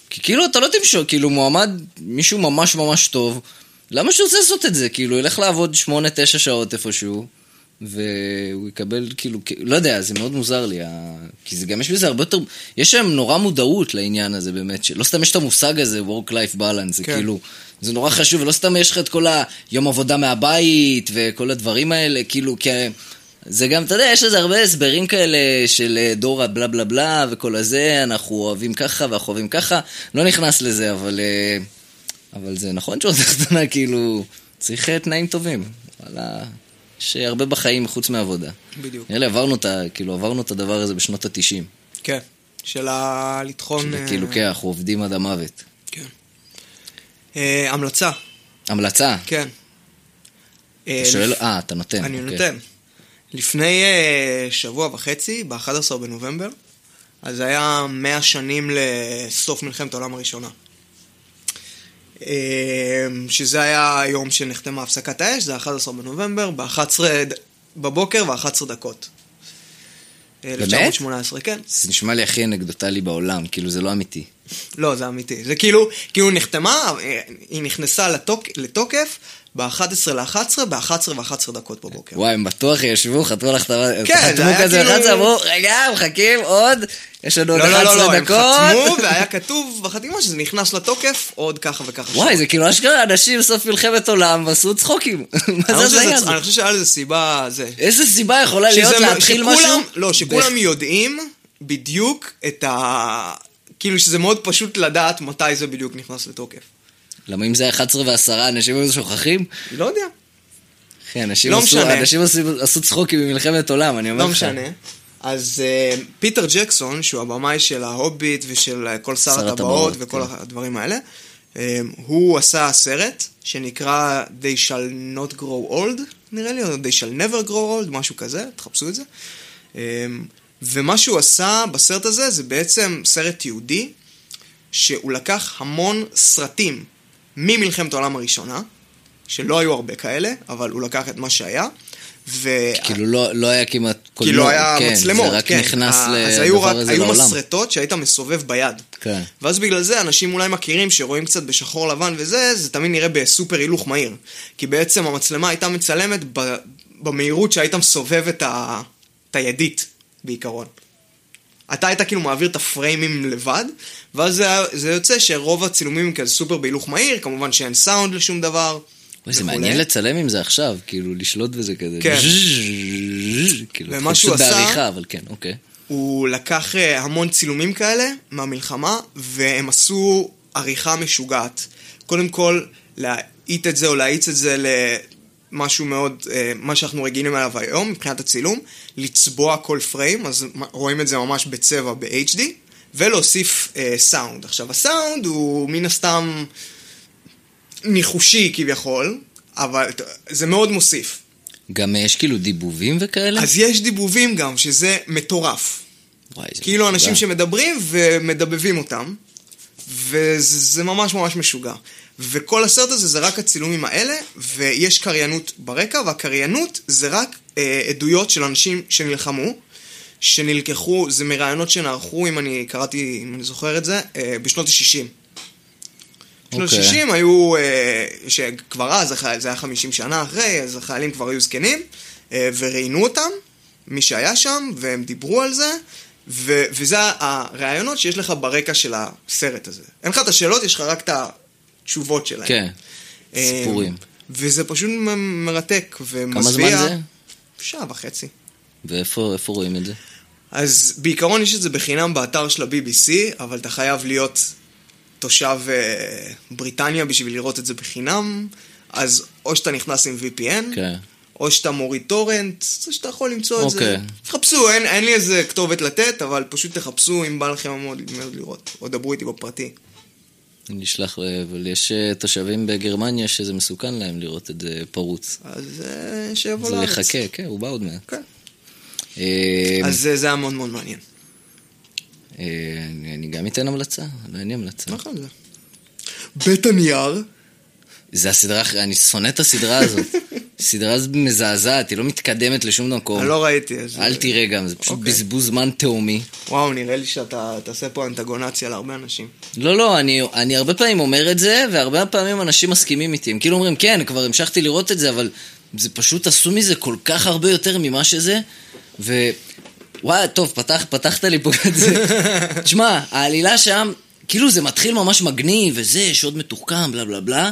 A: כי כאילו, אתה לא תמשוך, כאילו, מועמד, מישהו ממש ממש טוב, למה שהוא רוצה לעשות את זה? כאילו, ילך לעבוד 8-9 שעות איפשהו, והוא יקבל, כאילו, כ- לא יודע, זה מאוד מוזר לי, ה... כי זה גם יש בזה הרבה יותר... יש שם נורא מודעות לעניין הזה, באמת, שלא סתם יש את המושג הזה, Work-Life Balance, זה
B: כן.
A: כאילו... זה נורא חשוב, ולא סתם יש לך את כל היום עבודה מהבית וכל הדברים האלה, כאילו, כי... זה גם, אתה יודע, יש לזה הרבה הסברים כאלה של אה, דור הבלה בלה בלה וכל הזה, אנחנו אוהבים ככה ואנחנו אוהבים ככה, לא נכנס לזה, אבל, אה, אבל זה נכון שעוד קטנה, כאילו, צריך אה, תנאים טובים. וואלה, יש הרבה בחיים חוץ מעבודה.
B: בדיוק.
A: נראה לי עברנו את, ה- כאילו, עברנו את הדבר הזה בשנות התשעים.
B: כן. של ה... לטחון... אה,
A: כאילו, כן, אנחנו עובדים עד המוות.
B: כן. אה, המלצה,
A: המלצה,
B: כן. אה,
A: אתה שואל, אה, אתה נותן.
B: אני
A: אוקיי.
B: נותן. לפני אה, שבוע וחצי, ב-11 בנובמבר, אז זה היה 100 שנים לסוף מלחמת העולם הראשונה. אה, שזה היה היום שנחתמה הפסקת האש, זה 11 בנובמבר, ב-11 בבוקר ו-11 דקות. 1918, כן.
A: זה נשמע לי הכי אנקדוטלי בעולם, כאילו זה לא אמיתי.
B: לא, זה אמיתי. זה כאילו, כאילו נחתמה, היא נכנסה לתוק, לתוקף ב-11 ל-11, ב-11 ו-11 דקות בבוקר.
A: וואי, הם בטוח ישבו, חתמו לך את ה...
B: כן, זה
A: חתמו
B: היה
A: כזה
B: כאילו-
A: ב-11, אמרו, רגע, מחכים עוד, יש לנו עוד
B: לא, לא, לא, לא,
A: 11
B: הם
A: דקות.
B: חתמו, והיה כתוב בחתימה שזה נכנס לתוקף עוד ככה וככה.
A: וואי, זה כאילו אשכרה אנשים סוף מלחמת עולם ועשו צחוקים. מה
B: אני
A: זה
B: חושב שזה-
A: הזיה הזאת?
B: אני חושב שהיה לזה סיבה, זה.
A: איזה סיבה יכולה להיות
B: שזה-
A: להתחיל
B: שכולם-
A: משהו?
B: לא, שכולם יודעים בדיוק את ה... כאילו שזה מאוד פשוט לדעת מתי זה בדיוק נכנס לתוקף.
A: למה אם זה היה 11 ו-10, אנשים היו שוכחים?
B: לא יודע.
A: אחי, אנשים
B: לא
A: עשו-
B: משנה.
A: אנשים עשו- עשו צחוקים במלחמת עולם, אני אומר
B: לא
A: לך.
B: משנה. אז uh, פיטר ג'קסון, שהוא הבמאי של ההוביט ושל uh, כל שר
A: שר
B: הטבעות
A: הטבעות,
B: וכל
A: כן.
B: הדברים האלה, um, הוא עשה סרט שנקרא They shall not grow old, נראה לי, או They shall never grow old, משהו כזה, תחפשו את זה. Um, ומה שהוא עשה בסרט הזה זה בעצם סרט יהודי, שהוא לקח המון סרטים ממלחמת העולם הראשונה, שלא היו הרבה כאלה, אבל הוא לקח את מה שהיה. ו...
A: כאילו לא- לא היה כמעט
B: כי
A: קולנוע,
B: לא היה
A: כן,
B: מצלמות,
A: זה רק
B: כן.
A: נכנס
B: ה- אז היו רק,
A: לדבר הזה
B: היו
A: לעולם.
B: מסרטות שהיית מסובב ביד.
A: כן.
B: ואז בגלל זה אנשים אולי מכירים שרואים קצת בשחור לבן וזה, זה תמיד נראה בסופר הילוך מהיר. כי בעצם המצלמה הייתה מצלמת ב, במהירות שהיית מסובב את, ה, את הידית, בעיקרון. אתה היית כאילו מעביר את הפריימים לבד, ואז זה, היה- זה יוצא שרוב הצילומים הם כזה סופר בהילוך מהיר, כמובן שאין סאונד לשום דבר.
A: אוי, זה
B: וכולי.
A: מעניין לצלם עם זה עכשיו, כאילו לשלוט בזה כזה.
B: כן.
A: ז'ז'ז'ז', כאילו,
B: ומה
A: פשוט
B: שהוא עשה-
A: בעריכה, אבל כן, אוקיי.
B: הוא לקח אה, המון צילומים כאלה מהמלחמה, והם עשו עריכה משוגעת. קודם כל, להאיט את זה או להאיץ את זה למשהו מאוד, אה, מה שאנחנו רגילים אליו היום מבחינת הצילום, לצבוע כל פריים, אז מ- רואים את זה ממש בצבע ב-HD, ולהוסיף אה, סאונד. עכשיו, הסאונד הוא מן הסתם ניחושי כביכול, אבל ת- זה מאוד מוסיף.
A: גם אה, יש כאילו דיבובים וכאלה?
B: אז יש דיבובים גם, שזה מטורף.
A: וואי, זה
B: כאילו
A: משוגע.
B: אנשים שמדברים ומדבבים אותם, וזה זה ממש ממש משוגע. וכל הסרט הזה זה רק הצילומים האלה, ויש קריינות ברקע, והקריינות זה רק אה, עדויות של אנשים שנלחמו, שנלקחו, זה מראיונות שנערכו, אם אני קראתי, אם אני זוכר את זה, אה, בשנות ה-60. בשנות
A: אוקיי.
B: ה-60 היו, אה, שכבר אז, החי- זה היה 50 שנה אחרי, אז החיילים כבר היו זקנים, אה, וראיינו אותם, מי שהיה שם, והם דיברו על זה, ו- וזה הראיונות שיש לך ברקע של הסרט הזה. אין לך את השאלות, יש לך רק את התשובות שלהם.
A: כן,
B: אה,
A: סיפורים.
B: וזה פשוט מ- מרתק
A: כמה
B: ומזוויע.
A: זמן זה?
B: שעה וחצי.
A: ואיפה איפה רואים את זה?
B: אז בעיקרון יש את זה בחינם באתר של ה-BBC, אבל אתה חייב להיות תושב אה, בריטניה בשביל לראות את זה בחינם, אז או שאתה נכנס עם VPN,
A: כן.
B: או שאתה מוריד טורנט, או שאתה יכול למצוא את זה.
A: אוקיי.
B: תחפשו, אין, אין לי איזה כתובת לתת, אבל פשוט תחפשו אם בא לכם מאוד, מאוד לראות, או דברו איתי בפרטי.
A: אני אשלח, אה, אבל יש אה, תושבים בגרמניה שזה מסוכן להם לראות את זה פרוץ.
B: אז אה, שיבוא
A: זה
B: לארץ.
A: יחכה, כן, הוא בא עוד מעט.
B: כן.
A: אה,
B: אז אה, זה היה מאוד מאוד מעניין.
A: אה, אני אני גם אתן המלצה, לא אין לי המלצה.
B: נכון זה. בית הנייר,
A: זה הסדרה, הכי- אני שונא את הסדרה הזאת. סדרה ז- מזעזעת, היא לא מתקדמת לשום מקום.
B: אני לא ראיתי. אז-
A: אל תראה גם, זה פשוט
B: אוקיי.
A: בזבוז זמן תהומי.
B: וואו, נראה לי שאתה תעשה פה אנטגונציה להרבה אנשים.
A: לא, לא, אני, אני הרבה פעמים אומר את זה, והרבה פעמים אנשים מסכימים איתי. הם כאילו אומרים, כן, כבר המשכתי לראות את זה, אבל זה פשוט עשו מזה כל כך הרבה יותר ממה שזה, ו... וואי, טוב, פתח, פתחת לי פה את זה. תשמע, העלילה שם, כאילו זה מתחיל ממש מגניב, וזה, שוד מתוחכם, בלה בלה בלה.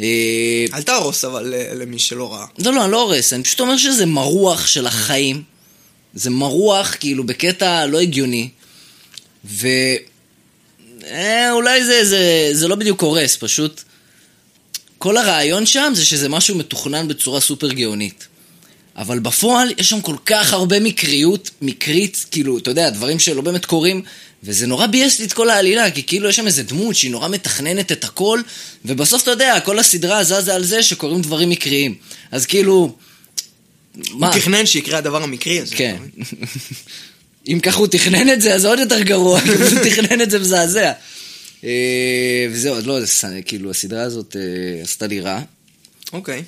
A: אה,
B: אל תהרוס אבל אה, למי שלא ראה.
A: לא, לא, אני לא הורס, אני פשוט אומר שזה מרוח של החיים. זה מרוח, כאילו, בקטע לא הגיוני. ו... אה, אולי זה, זה, זה לא בדיוק הורס, פשוט... כל הרעיון שם זה שזה משהו מתוכנן בצורה סופר גאונית. אבל בפועל יש שם כל כך הרבה מקריות, מקרית, כאילו, אתה יודע, דברים שלא באמת קורים, וזה נורא ביאס לי את כל העלילה, כי כאילו יש שם איזה דמות שהיא נורא מתכננת את הכל, ובסוף אתה יודע, כל הסדרה זזה על זה שקורים דברים מקריים. אז כאילו...
B: הוא
A: מה?
B: תכנן שיקרה הדבר המקרי הזה.
A: כן. אם ככה הוא תכנן את זה, אז זה עוד יותר גרוע, כי הוא תכנן את זה מזעזע. אה, וזהו, אז לא, זה ס- כאילו, הסדרה הזאת אה, עשתה לי רע,
B: אוקיי.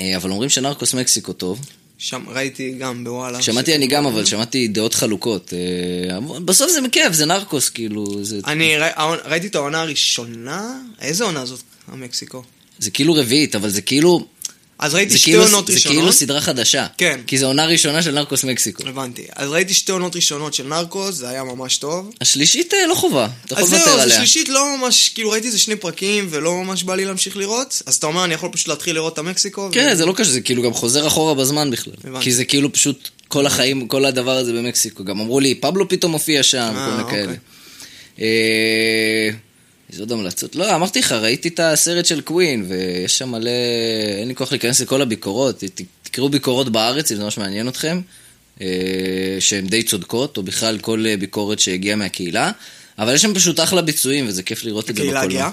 A: אה, אבל אומרים שנרקוס מקסיקו טוב.
B: שם ראיתי גם בוואלה.
A: שמעתי אני גם,
B: אה.
A: אבל שמעתי דעות חלוקות. אה, אבל בסוף זה מכיף, זה נרקוס, כאילו, זה,
B: אני ראי- העונ- ראיתי את העונה הראשונה, איזה עונה זאת? המקסיקו.
A: זה כאילו רביעית, אבל זה כאילו...
B: אז
A: זה
B: ראיתי שתי
A: כאילו,
B: עונות
A: זה כאילו
B: ראשונות.
A: סדרה חדשה.
B: כן. אה.
A: כי זו עונה ראשונה של נרקוס מקסיקו.
B: הבנתי. אז ראיתי שתי עונות ראשונות של נרקוס, זה היה ממש טוב.
A: השלישית אה, לא חובה, אתה יכול
B: אז
A: לוותר
B: זהו,
A: עליה.
B: אז השלישית לא ממש, כאילו ראיתי איזה שני פרקים ולא ממש בא לי להמשיך לראות, אז אתה אומר אני יכול פשוט להתחיל לראות את המקסיקו? ו-
A: כן, זה לא קשה, זה כאילו גם חוזר אחורה בזמן בכלל.
B: אוקיי. הבנתי.
A: כי זה כאילו פשוט כל החיים, כל הדבר הזה במקסיקו. גם אמרו לי, פבלו פתאום הופיע שם,
B: אה,
A: כל מיני
B: אוקיי.
A: כאלה. אה, איזה עוד המלצות? לא, אמרתי לך, ראיתי את הסרט של קווין, ויש שם מלא... אין לי כוח להיכנס לכל הביקורות. ת- תקראו ביקורות בארץ, אם זה ממש מעניין אתכם, אה, שהן די צודקות, או בכלל כל אה, ביקורת שהגיעה מהקהילה. אבל יש שם פשוט אחלה ביצועים, וזה כיף לראות את זה בקולנוע.
B: הקהילה הגאה?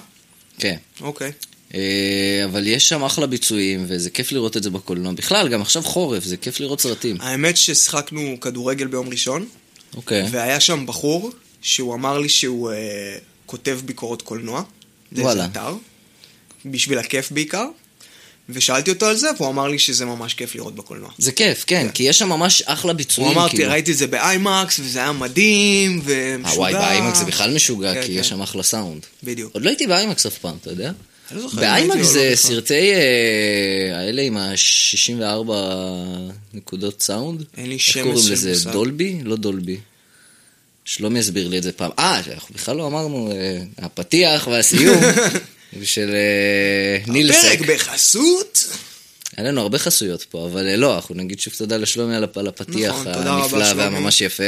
A: כן.
B: אוקיי.
A: אה, אבל יש שם אחלה ביצועים, וזה כיף לראות את זה בקולנוע. בכלל, גם עכשיו חורף, זה כיף לראות סרטים.
B: האמת ששיחקנו כדורגל ביום ראשון,
A: אוקיי.
B: והיה שם בחור שהוא אמר לי שהוא אה, כותב ביקורות קולנוע.
A: וואלה.
B: וואלה. אתר, בשביל הכיף בעיקר. ושאלתי אותו על זה, והוא אמר לי שזה ממש כיף לראות בקולנוע.
A: זה כיף, כן, כי יש שם ממש אחלה ביצועים.
B: הוא אמר, "ת-
A: כאילו.
B: ראיתי את זה באיימקס, וזה היה מדהים, ומשוגע.
A: אה, וואי, באיימקס זה בכלל משוגע,
B: כן,
A: כי
B: כן.
A: יש שם אחלה סאונד.
B: בדיוק.
A: עוד לא הייתי באיימקס אף פעם, אתה יודע?
B: אני לא זוכר אם
A: באיימקס
B: ראיתי או לא
A: זה
B: בכלל.
A: סרטי אה, האלה עם ה-64 נקודות סאונד.
B: אין לי שמץ
A: איך קוראים
B: של
A: לזה?
B: מושג.
A: דולבי? לא דולבי. שלומי הסביר לי את זה פעם. אה, אנחנו בכלל לא אמרנו, אה, הפתיח והסיום של אה, נילסק.
B: פרק בחסות.
A: היה לנו הרבה חסויות פה, אבל אה, לא, אנחנו נגיד שוב תודה לשלומי על הפ- על הפתיח
B: נכון, תודה רבה,
A: הנפלא
B: שלומי.
A: והממש יפה.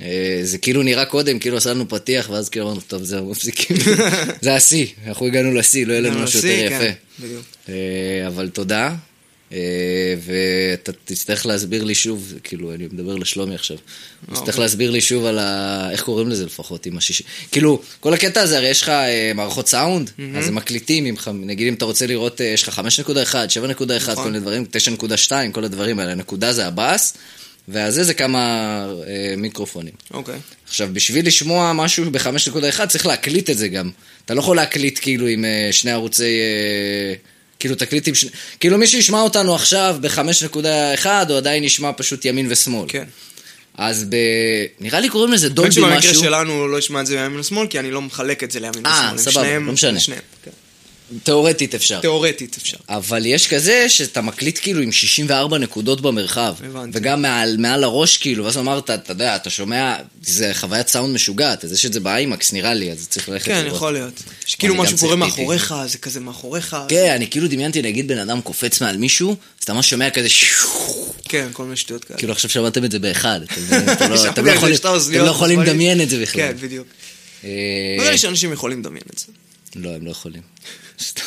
A: אה, זה כאילו נראה קודם, כאילו עשה לנו פתיח, ואז כאילו אמרנו, טוב, זהו, מפסיקים. זה השיא, אנחנו הגענו לשיא, לא יהיה לנו משהו
B: הנשיא,
A: יותר
B: כן,
A: יפה.
B: בדיוק.
A: אה, אבל תודה, אה, ואתה תצטרך להסביר לי שוב, כאילו, אני מדבר לשלומי עכשיו,
B: אוקיי.
A: תצטרך להסביר לי שוב על ה... איך קוראים לזה לפחות, עם השישי... כאילו, כל הקטע הזה, הרי יש לך אה, מערכות סאונד, אז הם מקליטים, עם, ח- נגיד אם אתה רוצה לראות, אה, יש לך 5.1, 7.1, כל
B: נכון.
A: מיני דברים, 9.2, כל הדברים האלה, הנקודה זה הבאס, והזה זה כמה אה, מיקרופונים.
B: אוקיי.
A: עכשיו, בשביל לשמוע משהו ב-5.1 צריך להקליט את זה גם. אתה לא יכול להקליט כאילו עם אה, שני ערוצי... אה, כאילו תקליט עם שני... כאילו מי שישמע אותנו עכשיו ב-5.1 הוא עדיין ישמע פשוט ימין ושמאל.
B: כן.
A: אז ב... נראה לי קוראים לזה
B: האמת
A: דולבי
B: שבמקרה
A: משהו.
B: שלנו הוא לא ישמע את זה מימין לשמאל, כי אני לא מחלק את זה לימין
A: אה,
B: לשמאל. הם
A: סבבה,
B: שניהם-
A: לא משנה.
B: שניהם, כן.
A: תאורטית אפשר.
B: תיאורטית אפשר.
A: אבל יש כזה שאתה מקליט כאילו עם 64 נקודות במרחב.
B: הבנתי.
A: וגם מעל, מעל הראש כאילו, ואז אמרת, אתה יודע, אתה שומע, זה חוויית סאונד משוגעת, אז יש את זה באיימקס נראה לי, אז צריך ללכת
B: כן,
A: לראות.
B: יכול להיות. שכאילו
A: אני גם
B: משהו קורה
A: צריך פיפי.
B: מאחוריך, זה כזה מאחוריך.
A: כן, אני כאילו דמיינתי, נגיד בן אדם קופץ מעל מישהו, אז אתה ממש שומע כזה שיו,
B: כן, כל מיני שטויות כאלה.
A: כאילו עכשיו שמעתם את זה באחד, אתם מבינים? אתם לא-
B: שמעתי
A: אתם לא
B: על זה
A: יכולים-
B: שתי
A: אתם
B: אוזניות,
A: לא יכולים
B: אבל-
A: לדמיין את זה בכלל.
B: כן, בדיוק.
A: אה,
B: נראה לי שאנשים יכולים לדמיין את זה.
A: לא, הם לא יכולים. סתם.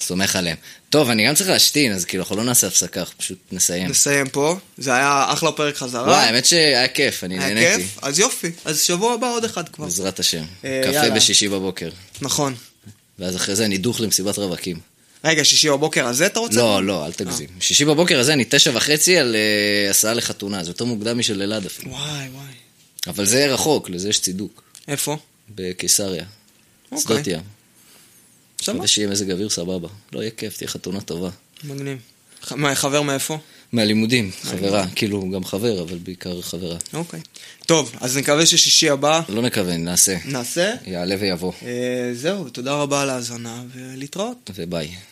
A: סומך עליהם. טוב, אני גם צריך להשתין, אז כאילו, אנחנו לא נעשה הפסקה, אנחנו פשוט נסיים.
B: נסיים פה, זה היה אחלה פרק חזרה.
A: וואי, האמת שהיה כיף, אני
B: היה
A: נהניתי.
B: כיף, אז יופי. אז שבוע הבא עוד אחד כבר.
A: בעזרת השם.
B: אה,
A: קפה
B: יאללה.
A: בשישי בבוקר.
B: נכון.
A: ואז אחרי זה אני דוך למסיבת רווקים.
B: רגע, שישי בבוקר הזה אתה רוצה? אה.
A: לא, לא, אל תגזים. שישי בבוקר הזה אני תשע וחצי על אה, הסעה לחתונה, זה יותר מוקדם משל אלעד אפילו.
B: וואי, וואי.
A: אבל זה רחוק, לזה יש צידוק.
B: איפה?
A: בקיסריה.
B: אוקיי.
A: שדות ים.
B: סבבה.
A: מקווה שיהיה מזג אוויר סבבה. לא יהיה כיף, תהיה חתונה טובה.
B: מגניב. ח- מה, חבר מאיפה?
A: מהלימודים,
B: אה,
A: חברה. כאילו, גם חבר, אבל בעיקר חברה.
B: אוקיי. טוב, אז נקווה ששישי הבא
A: לא נכוון, נעשה.
B: נעשה.
A: יעלה ויבוא.
B: אה, זהו, תודה רבה על ההאזנה, ולהתראות.
A: וביי.